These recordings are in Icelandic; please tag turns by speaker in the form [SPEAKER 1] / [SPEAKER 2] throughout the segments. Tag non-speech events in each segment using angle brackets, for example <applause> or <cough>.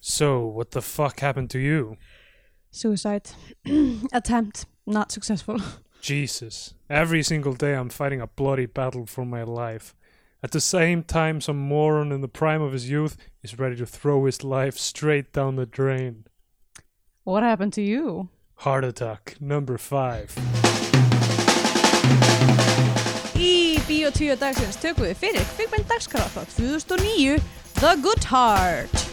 [SPEAKER 1] So, what the fuck happened to you?
[SPEAKER 2] Suicide. <clears throat> Attempt. Not successful. <laughs>
[SPEAKER 1] Jesus. Every single day I'm fighting a bloody battle for my life. At the same time, some moron in the prime of his youth is ready to throw his life straight down the drain.
[SPEAKER 2] What happened to you?
[SPEAKER 1] Heart attack, number five.
[SPEAKER 2] Í Bíó 10 dagsins tökum við fyrir kvikmynd dagskrá frá 2009 The Good Heart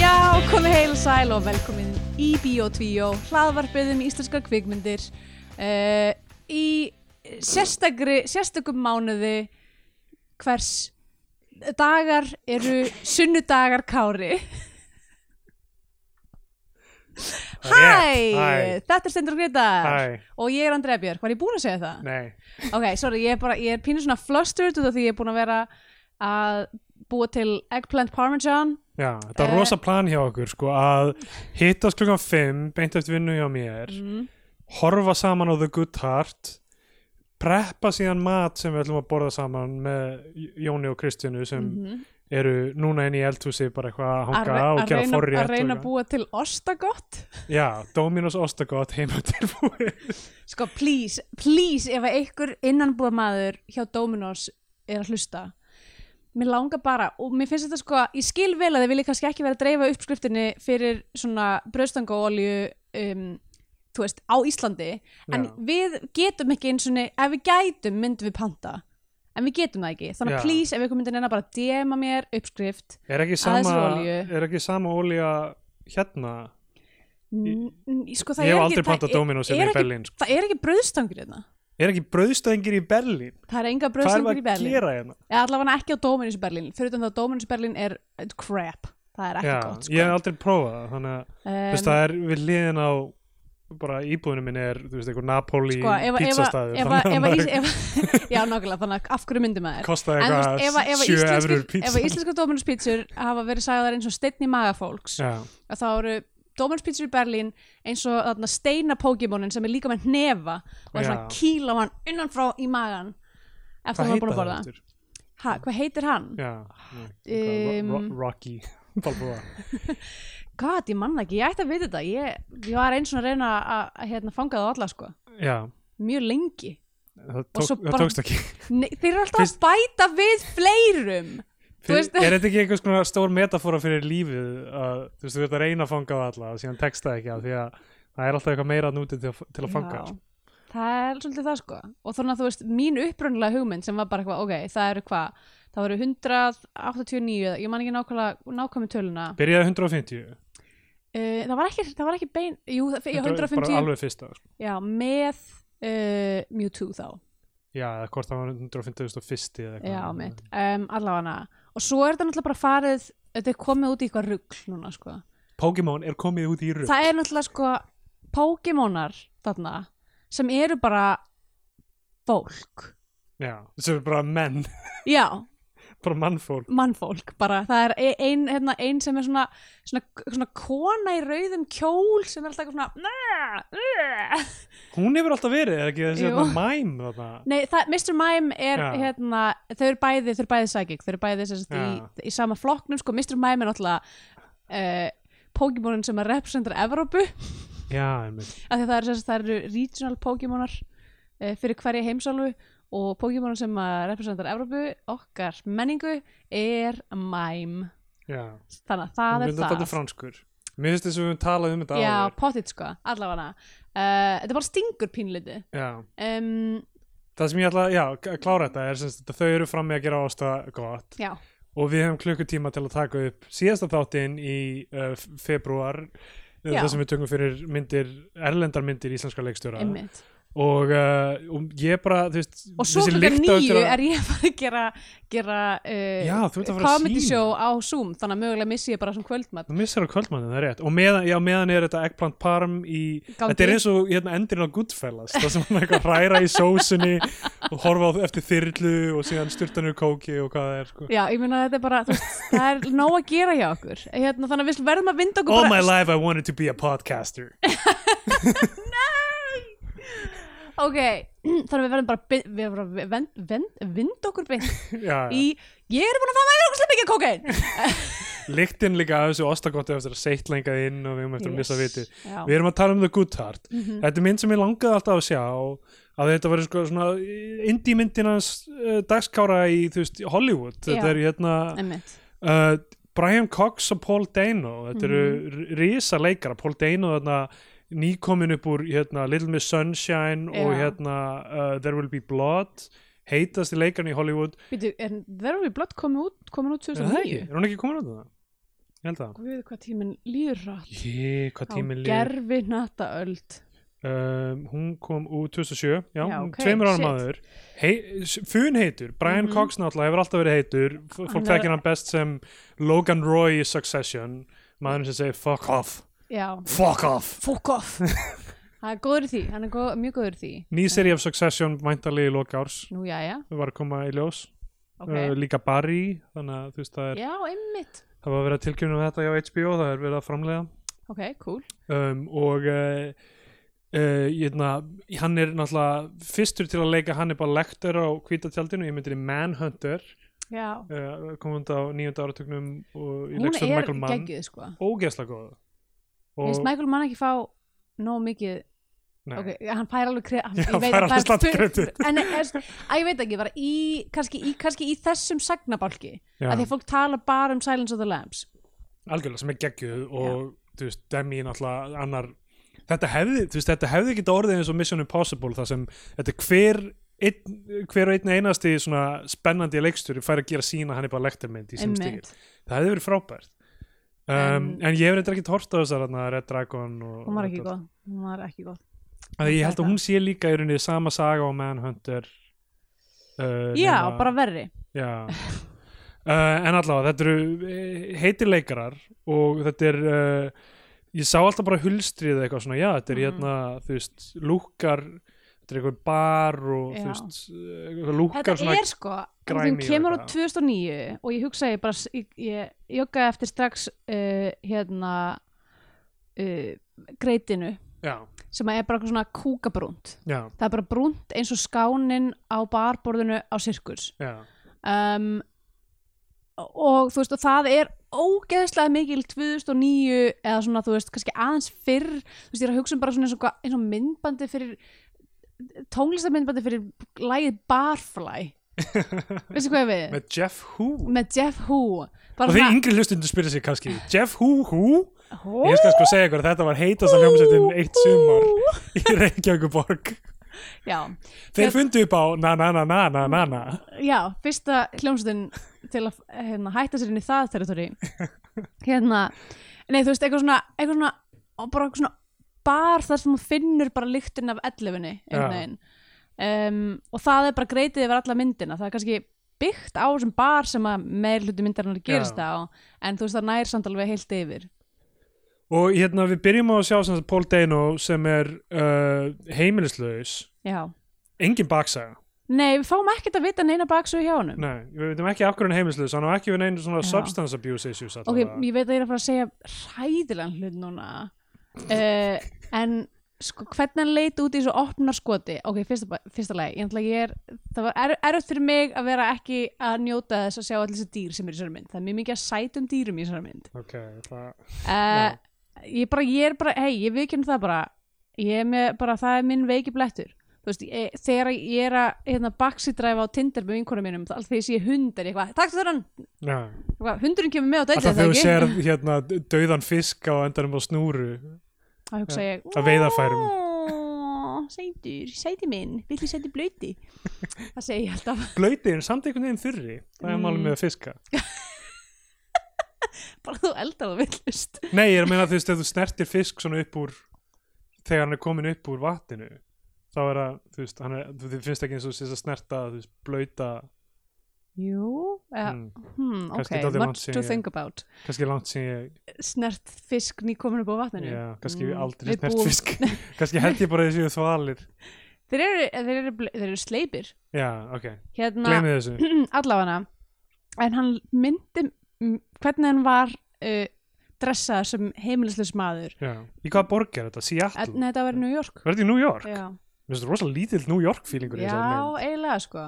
[SPEAKER 2] Já, komið heil og sæl og velkomin í Bíó 10 hlaðvarpið um íslenskar kvikmyndir uh, í sérstakri, sérstakum mánuði hvers dagar eru sunnudagar kári Hæ,
[SPEAKER 1] Hæ!
[SPEAKER 2] þetta er Stendur og Gretar
[SPEAKER 1] Hæ.
[SPEAKER 2] og ég er Andrea Björk, var ég búin að segja það?
[SPEAKER 1] Nei.
[SPEAKER 2] Ok, sorry, ég er bara, ég er pínu svona flustered út af því ég er búin að vera að búa til eggplant parmesan
[SPEAKER 1] Já, þetta er
[SPEAKER 2] Eh.
[SPEAKER 1] rosa plan hjá okkur, sko, að hittast klukkan fimm, beint eftir vinnu hjá mér,
[SPEAKER 2] Mhm.
[SPEAKER 1] horfa saman á The Good Heart, preppa síðan mat sem við ætlum að borða saman með Jóni og Kristjánu sem eru núna inn í eldhúsi bara eitthvað að
[SPEAKER 2] Mhm. að
[SPEAKER 1] hanga
[SPEAKER 2] re-
[SPEAKER 1] og
[SPEAKER 2] að
[SPEAKER 1] gera
[SPEAKER 2] reyna,
[SPEAKER 1] forrétt
[SPEAKER 2] að,
[SPEAKER 1] og
[SPEAKER 2] reyna
[SPEAKER 1] eitthvað.
[SPEAKER 2] að búa til ostagott
[SPEAKER 1] Já, Dominos Ostagott heima tilbúið.
[SPEAKER 2] sko please, please ef að einhver innanbúa maður hjá Dominos er að hlusta mér langar bara og mér finnst þetta sko, ég skil vel að þið vilja kannski ekki vera að dreifa uppskriftinni fyrir svona bröðstangaolju um, þú veist, á Íslandi <laughs> en
[SPEAKER 1] Já.
[SPEAKER 2] við getum ekki eins og ef við gætum myndum við panta en við getum það ekki, þannig
[SPEAKER 1] Já.
[SPEAKER 2] að please ef einhver myndi neina bara að dema mér uppskrift
[SPEAKER 1] Er ekki
[SPEAKER 2] Aðeins
[SPEAKER 1] sama,
[SPEAKER 2] olíu.
[SPEAKER 1] er ekki sama olía hérna?
[SPEAKER 2] N- n- sko,
[SPEAKER 1] Ég
[SPEAKER 2] það er
[SPEAKER 1] hef
[SPEAKER 2] ekki-
[SPEAKER 1] aldrei
[SPEAKER 2] það
[SPEAKER 1] pantað
[SPEAKER 2] er-
[SPEAKER 1] Dominos hérna
[SPEAKER 2] er
[SPEAKER 1] í
[SPEAKER 2] ekki-
[SPEAKER 1] Berlín, sko.
[SPEAKER 2] það er ekki bröðstangur hérna
[SPEAKER 1] Er ekki brauðstæðingir í Berlín?
[SPEAKER 2] það er enga
[SPEAKER 1] Hvað er
[SPEAKER 2] bröðstangur í
[SPEAKER 1] að
[SPEAKER 2] Berlín
[SPEAKER 1] gera hérna?
[SPEAKER 2] eða allavega ekki á Dominus í Berlín fyrir utan það að Dominus í Berlín er crap það er ekki
[SPEAKER 1] Já,
[SPEAKER 2] gott
[SPEAKER 1] ég
[SPEAKER 2] sko.
[SPEAKER 1] hef aldrei prófað það, þannig að þú veist,
[SPEAKER 2] um,
[SPEAKER 1] það er við liðin á bara íbúðinu minni er, þú veist, einhver Napoli
[SPEAKER 2] sko, ef, ef,
[SPEAKER 1] pítsastæður
[SPEAKER 2] ef,
[SPEAKER 1] þannig að
[SPEAKER 2] ef,
[SPEAKER 1] maður
[SPEAKER 2] ef, ef, <laughs> já nokkulega þannig að af hverju myndi maður
[SPEAKER 1] <laughs> kostaði
[SPEAKER 2] en þú veist, ef,
[SPEAKER 1] eitthvað
[SPEAKER 2] ef,
[SPEAKER 1] 7
[SPEAKER 2] íslenskir,
[SPEAKER 1] eurur
[SPEAKER 2] ef
[SPEAKER 1] pítsa
[SPEAKER 2] íslenska Dominus pítsur hafa verið sagðar eins og steinn í maga
[SPEAKER 1] <laughs>
[SPEAKER 2] fólks
[SPEAKER 1] Já,
[SPEAKER 2] að þá eru Dominus pítsur í Berlín eins og þarna steina Pokémonin sem er líka með hnefa og er svona
[SPEAKER 1] Já.
[SPEAKER 2] kýla hann innanfrá í magan eftir
[SPEAKER 1] hvað
[SPEAKER 2] að hann var
[SPEAKER 1] heita
[SPEAKER 2] búin að
[SPEAKER 1] það
[SPEAKER 2] borða
[SPEAKER 1] eftir?
[SPEAKER 2] ha, hvað heitir hann?
[SPEAKER 1] Já, um,
[SPEAKER 2] Um,
[SPEAKER 1] Rocky Balboa
[SPEAKER 2] God, ég manna ekki, ég ætti að vita þetta ég, ég var eins og að reyna að, að hérna, fanga það alla sko,
[SPEAKER 1] Já,
[SPEAKER 2] mjög lengi
[SPEAKER 1] það, tók,
[SPEAKER 2] svo
[SPEAKER 1] það
[SPEAKER 2] bara-
[SPEAKER 1] tókst ekki
[SPEAKER 2] Nei, þeir eru alltaf
[SPEAKER 1] Fyrst-
[SPEAKER 2] að bæta við fleirum <laughs> Þú
[SPEAKER 1] Fyrir,
[SPEAKER 2] veist-
[SPEAKER 1] er þetta ekki einhvers konar stór metafóra fyrir lífið að þú veist, þú ert að reyna að fanga á alla og síðan tekst það ekki af því að það er alltaf eitthvað meira að núti til að, til að fanga
[SPEAKER 2] Já, það er svolítið það sko og þannig að þú veist, mín upprunalega hugmynd sem var bara eitthvað, ok, það eru hvað það eru 189, eða- ég man ekki nákvæmlega nákvæmlega töluna uh,
[SPEAKER 1] Byrjaði 150
[SPEAKER 2] Eh, það, var ekki, það var ekki bein, jú, það, ég, 150
[SPEAKER 1] bara alveg fyrsta sko.
[SPEAKER 2] já, með uh, Mewtwo þá
[SPEAKER 1] Já, eða hvort það var 151 eða eitthvað
[SPEAKER 2] Já, mitt, um, allavega og svo er þetta náttúrulega bara farið þetta er komið út í eitthvað rugl núna sko.
[SPEAKER 1] Pokémon er komið út í rugg
[SPEAKER 2] það er náttúrulega sko Pokémonar þarna sem eru bara fólk
[SPEAKER 1] Já, þessu er bara menn, <laughs>
[SPEAKER 2] já,
[SPEAKER 1] bara mannfólk
[SPEAKER 2] mannfólk bara, það er e- ein, hérna, ein sem er svona, svona, svona kona í rauðum kjól sem er alltaf eitthvað svona
[SPEAKER 1] Hún hefur alltaf verið, eða ekki þessi
[SPEAKER 2] Jú.
[SPEAKER 1] hérna mæm þarna
[SPEAKER 2] Nei, það, Mr. Mime er
[SPEAKER 1] Já.
[SPEAKER 2] hérna, þau eru bæði, þau eru bæði psychic þau eru bæði sem sagt, í, í sama flokknum sko, Mr. Mime er náttúrulega uh, Pokémonin sem að representar Evrópu af
[SPEAKER 1] Já, einmitt
[SPEAKER 2] því að það eru, sem sagt, það eru regional Pokémonar uh, fyrir hverja heimsálfu og Pokémonin sem að representar Evrópu okkar menningu er Mime
[SPEAKER 1] Já,
[SPEAKER 2] þannig að það
[SPEAKER 1] hún
[SPEAKER 2] er
[SPEAKER 1] þetta
[SPEAKER 2] það
[SPEAKER 1] franskur Mér finnst þess að við höfum talað um þetta
[SPEAKER 2] Já,
[SPEAKER 1] áður
[SPEAKER 2] pottit sko, allavega uh, þetta bara stingur pínliti
[SPEAKER 1] Já,
[SPEAKER 2] um,
[SPEAKER 1] það sem ég ætla, já, k- klára þetta er sem þetta þau eru frammi að gera ásta gott
[SPEAKER 2] já,
[SPEAKER 1] og við hefum klukkutíma til að taka upp síðasta þáttinn í uh, februar
[SPEAKER 2] Já.
[SPEAKER 1] það sem við tökum fyrir myndir erlendar myndir íslenska leikstjóra
[SPEAKER 2] einmitt
[SPEAKER 1] og, uh, og ég bara þú veist,
[SPEAKER 2] og svo
[SPEAKER 1] þessi
[SPEAKER 2] klukkan
[SPEAKER 1] lykt á
[SPEAKER 2] nýju
[SPEAKER 1] eftir að-
[SPEAKER 2] er ég að fara að gera, gera uh,
[SPEAKER 1] Já, þú ert að fara að
[SPEAKER 2] comedy
[SPEAKER 1] sýna.
[SPEAKER 2] show á Zoom þannig að mögulega missi ég bara sem kvöldmatt
[SPEAKER 1] þú missar á kvöldmannin, það er rétt og meðan, já, meðan er þetta eggplant parm í,
[SPEAKER 2] Gangi.
[SPEAKER 1] þetta er eins og hérna, endurinn á Goodfellas það sem hann er eitthvað að hræra í sósunni og horfa á eftir þyrlu og síðan styrtanur kóki og hvað það er sko.
[SPEAKER 2] Já, ég meina þetta er bara, þú veist, það er nóg að gera hjá okkur hérna, Þannig að við verðum að vinda okkur
[SPEAKER 1] All Oh my
[SPEAKER 2] bara
[SPEAKER 1] life I wanted to be a podcaster
[SPEAKER 2] Ok, þannig að við verðum bara, að bi- við verðum bara að vend, vend, vinda okkur beint
[SPEAKER 1] já,
[SPEAKER 2] í
[SPEAKER 1] já.
[SPEAKER 2] Ég er búin að fá mér okkur mikið kókain
[SPEAKER 1] <laughs> Líktinn líka af þessu ostakottu eftir að seittlengað inn og við erum eftir að missa vitið
[SPEAKER 2] Já. Mhm.
[SPEAKER 1] Við erum að tala um The Good Heart Þetta er mynd sem ég langaði alltaf að sjá að þetta var sko svona indie myndin hans uh, dagskára í þú veist, Hollywood Þetta
[SPEAKER 2] Já.
[SPEAKER 1] er hérna
[SPEAKER 2] Einmitt.
[SPEAKER 1] uh, Brian Cox og Paul Dano Þetta eru
[SPEAKER 2] Mhm.
[SPEAKER 1] risa leikara Paul Dano þarna nýkomin upp úr hérna, Little Miss Sunshine og
[SPEAKER 2] Já.
[SPEAKER 1] hérna uh, There Will Be Blood heitast í leikarni í Hollywood
[SPEAKER 2] Býtu, er Verður við blott komin út, komin út
[SPEAKER 1] Er það ekki?
[SPEAKER 2] 2009?
[SPEAKER 1] Er hún ekki komin á það? Ég held það
[SPEAKER 2] Guð, hvað tíminn líður rætt
[SPEAKER 1] Jé, hvað
[SPEAKER 2] á
[SPEAKER 1] tíminn líður
[SPEAKER 2] gerfi nattaöld
[SPEAKER 1] um, hún kom úr 2007 já,
[SPEAKER 2] Já,
[SPEAKER 1] já
[SPEAKER 2] ok,
[SPEAKER 1] tveimur árum
[SPEAKER 2] shit. Mhm.
[SPEAKER 1] aður Hei, fun heitur, Brian Cox náttúrulega hefur alltaf verið heitur, F- fólk
[SPEAKER 2] er-
[SPEAKER 1] þekkir hann best sem Logan Roy í Succession maðurinn sem segir fuck off
[SPEAKER 2] Já,
[SPEAKER 1] fuck off
[SPEAKER 2] fuck off Það er góður í því, <laughs> hann er góð, mjög góður í því
[SPEAKER 1] ný seri af Succession væntalegi í loka árs
[SPEAKER 2] Nú, já, já,
[SPEAKER 1] við varum að koma í ljós
[SPEAKER 2] ok
[SPEAKER 1] uh, líka Barry, þannig að þú veist það er
[SPEAKER 2] Já, einmitt,
[SPEAKER 1] það var verið að tilkynna um þetta hjá HBO það er verið að framlega
[SPEAKER 2] ok, cool
[SPEAKER 1] um, og uh, uh, hérna, hann er náttúrulega fyrstur til að leika Hannibal Lecter á hvítatjaldinu, ég myndir í Manhunter
[SPEAKER 2] Já,
[SPEAKER 1] uh, kom hún á nýjönda áratugnum og í
[SPEAKER 2] hún
[SPEAKER 1] leikstjórn
[SPEAKER 2] er
[SPEAKER 1] Michael Mann
[SPEAKER 2] geggjuð, sko
[SPEAKER 1] ógeðslega góð
[SPEAKER 2] Vist Michael Mann ekki fá nóg mikið
[SPEAKER 1] nei,
[SPEAKER 2] Ok, hann fær alveg kre- hann,
[SPEAKER 1] Já,
[SPEAKER 2] ég
[SPEAKER 1] hann
[SPEAKER 2] veit
[SPEAKER 1] fær
[SPEAKER 2] að það
[SPEAKER 1] alveg slatt
[SPEAKER 2] er-
[SPEAKER 1] kredit.
[SPEAKER 2] En er, að ég veit ekki, bara í kannski í, kannski í þessum sagnabálki
[SPEAKER 1] já,
[SPEAKER 2] að því að fólk tala bara um Silence of the Lambs
[SPEAKER 1] algjörlega sem er geggjuð og þú veist, Demi náttúrulega annar þetta hefði, þú veist, þetta hefði ekki orðið eins og Mission Impossible þar sem þetta er hver einn, hver og einn einasti svona spennandi leikstjóri fær að gera sína hann er bara lektarmynd í sem stíl
[SPEAKER 2] Einmitt.
[SPEAKER 1] það hefði verið frábært um, en,
[SPEAKER 2] En-
[SPEAKER 1] ég hef reyndar ekki hort á þessar þarna, Red Dragon og,
[SPEAKER 2] Hún var ekki góð, hún var ekki góð
[SPEAKER 1] að ég held að hún sé líka í rauninni sama saga og Manhunter uh,
[SPEAKER 2] Já,
[SPEAKER 1] nema-
[SPEAKER 2] bara verri
[SPEAKER 1] já. Uh, en allavega þetta eru eh, heitir leikarar og þetta er uh, ég sá alltaf bara hulstrið eitthvað svona já þetta er
[SPEAKER 2] Mhm.
[SPEAKER 1] hérna þú veist lúkkar þetta er eitthvað bar og
[SPEAKER 2] Já.
[SPEAKER 1] þú veist eh, eitthvað lúkkar
[SPEAKER 2] Þetta
[SPEAKER 1] svona
[SPEAKER 2] er sko, en
[SPEAKER 1] græmi
[SPEAKER 2] þeim
[SPEAKER 1] og
[SPEAKER 2] kemur
[SPEAKER 1] eitthvað.
[SPEAKER 2] út 2009 og ég hugsa ég bara, ég, ég joggaði eftir strax uh, hérna uh, greitinu
[SPEAKER 1] já,
[SPEAKER 2] sem er bara eitthvað svona kúkabrúnt
[SPEAKER 1] já,
[SPEAKER 2] það er bara brúnt eins og skánin á barborðinu á sirkus
[SPEAKER 1] já,
[SPEAKER 2] um, og þú veist og það er ógeðslega mikil 2009 eða svona þú veist kannski aðeins fyrr þú veist ég er að hugsa um bara svona eins og, hvað- eins og myndbandi fyrir tónlistarmyndbandi fyrir lægið
[SPEAKER 1] <laughs>
[SPEAKER 2] Barfly veistu hvað ég við?
[SPEAKER 1] með Jeff Hu
[SPEAKER 2] með Jeff Hu bara
[SPEAKER 1] og þeir
[SPEAKER 2] svona
[SPEAKER 1] yngri hlustundu spyrir sig kannski Jeff Hu Hu
[SPEAKER 2] Hú,
[SPEAKER 1] ég skal sko segja ykkur að þetta var heitast að hljómsveitin eitt sumar í Reykjavíkuborg
[SPEAKER 2] já,
[SPEAKER 1] Þeir fundu upp á na na na na na na na
[SPEAKER 2] já, fyrsta hljómsveitin til að hérna, hætta sér inn í það
[SPEAKER 1] <laughs>
[SPEAKER 2] territori hérna, nei þú veist, eitthvað svona eitthvað svona, og bara eitthvað svona bar þar sem hún finnur bara lyktin af ellefunni
[SPEAKER 1] Já.
[SPEAKER 2] einhvern veginn um, og það er bara greitið yfir alla myndina það er kannski byggt á þessum bar sem að meir hluti myndarinnar gerist
[SPEAKER 1] Já.
[SPEAKER 2] á en þú veist það nær samt alveg heilt yfir
[SPEAKER 1] Og hérna við byrjum á að sjá sem sagt Paul Dano sem er uh, heimilislaus
[SPEAKER 2] já,
[SPEAKER 1] Engin baksaga
[SPEAKER 2] nei við fáum ekkert að vita neina baksögu hjá honum
[SPEAKER 1] Nei, við veitum ekki af hverju hann er heimilislaus Hann á ekki við neinu svona
[SPEAKER 2] Já.
[SPEAKER 1] substance abuse issues
[SPEAKER 2] ok,
[SPEAKER 1] allavega.
[SPEAKER 2] ég veit að ég er að fara að segja hræðilegan hlut núna uh, en sko, hvernig hann leit út í þessu opnarskoti ok, fyrsta, ba- fyrsta lagi, ég, ætla- ég er það var er, erfitt fyrir mig að vera ekki að njóta þess að sjá allir þessi dýr sem er í þessari mynd það er mjög mikið að sætum dýrum í þessari mynd
[SPEAKER 1] ok, það
[SPEAKER 2] uh, ég, bara, ég er bara, hei, ég viðkynna það bara ég er með, bara, það er minn veiki blettur þú veist, ég, þegar ég er að hérna, baxidræfa á Tinder með vinkonu mínum þá- þegar ég sé hund er ég eitthvað, takk þurran
[SPEAKER 1] Já,
[SPEAKER 2] hundurinn kemur með á dæti
[SPEAKER 1] alltaf þegar þú sér hérna dauðan fisk á endanum á snúru
[SPEAKER 2] þá hugsa ég
[SPEAKER 1] Að veiðarfærum.
[SPEAKER 2] "Ó, sætur, sæti minn, villi sæti blöti
[SPEAKER 1] <laughs>
[SPEAKER 2] það segi ég alltaf <laughs>
[SPEAKER 1] Blöytið en samt einhvern veginn þurri Það er
[SPEAKER 2] Mm.
[SPEAKER 1] málum með að fiska
[SPEAKER 2] bara þú eldar það villust
[SPEAKER 1] Nei, ég er að meina þú veist ef þú snertir fisk svona upp úr þegar hann er komin upp úr vatninu þá er það, þú veist, hann er, þú þið finnst ekki eins og sérst að snerta, þú veist, blöyta
[SPEAKER 2] Jú, uh,
[SPEAKER 1] mm.
[SPEAKER 2] hmm, ok,
[SPEAKER 1] Kannski dálítið langt
[SPEAKER 2] much
[SPEAKER 1] síðan
[SPEAKER 2] to
[SPEAKER 1] ég-
[SPEAKER 2] think about
[SPEAKER 1] kannski langt sem ég,
[SPEAKER 2] Snert fisk nýkomin upp á vatninu
[SPEAKER 1] já, kannski
[SPEAKER 2] Mm,
[SPEAKER 1] aldrei
[SPEAKER 2] við
[SPEAKER 1] snert
[SPEAKER 2] búum-
[SPEAKER 1] fisk <laughs> kannski held ég bara þessu þvalir
[SPEAKER 2] Þeir eru, þeir eru, ble- þeir eru sleipir
[SPEAKER 1] já, ok,
[SPEAKER 2] Hérna,
[SPEAKER 1] gleymið þessu
[SPEAKER 2] <clears throat> allafana En hann myndi m, hvernig hann var uh, dressað sem heimilislaus maður
[SPEAKER 1] já. í hvaða borg er þetta,
[SPEAKER 2] En
[SPEAKER 1] Seattle
[SPEAKER 2] nei, þetta var í New York
[SPEAKER 1] verður þetta í New York,
[SPEAKER 2] Já,
[SPEAKER 1] mér finnst rosa lítill New York feelingur í
[SPEAKER 2] Já
[SPEAKER 1] þessari mynd.
[SPEAKER 2] eiginlega sko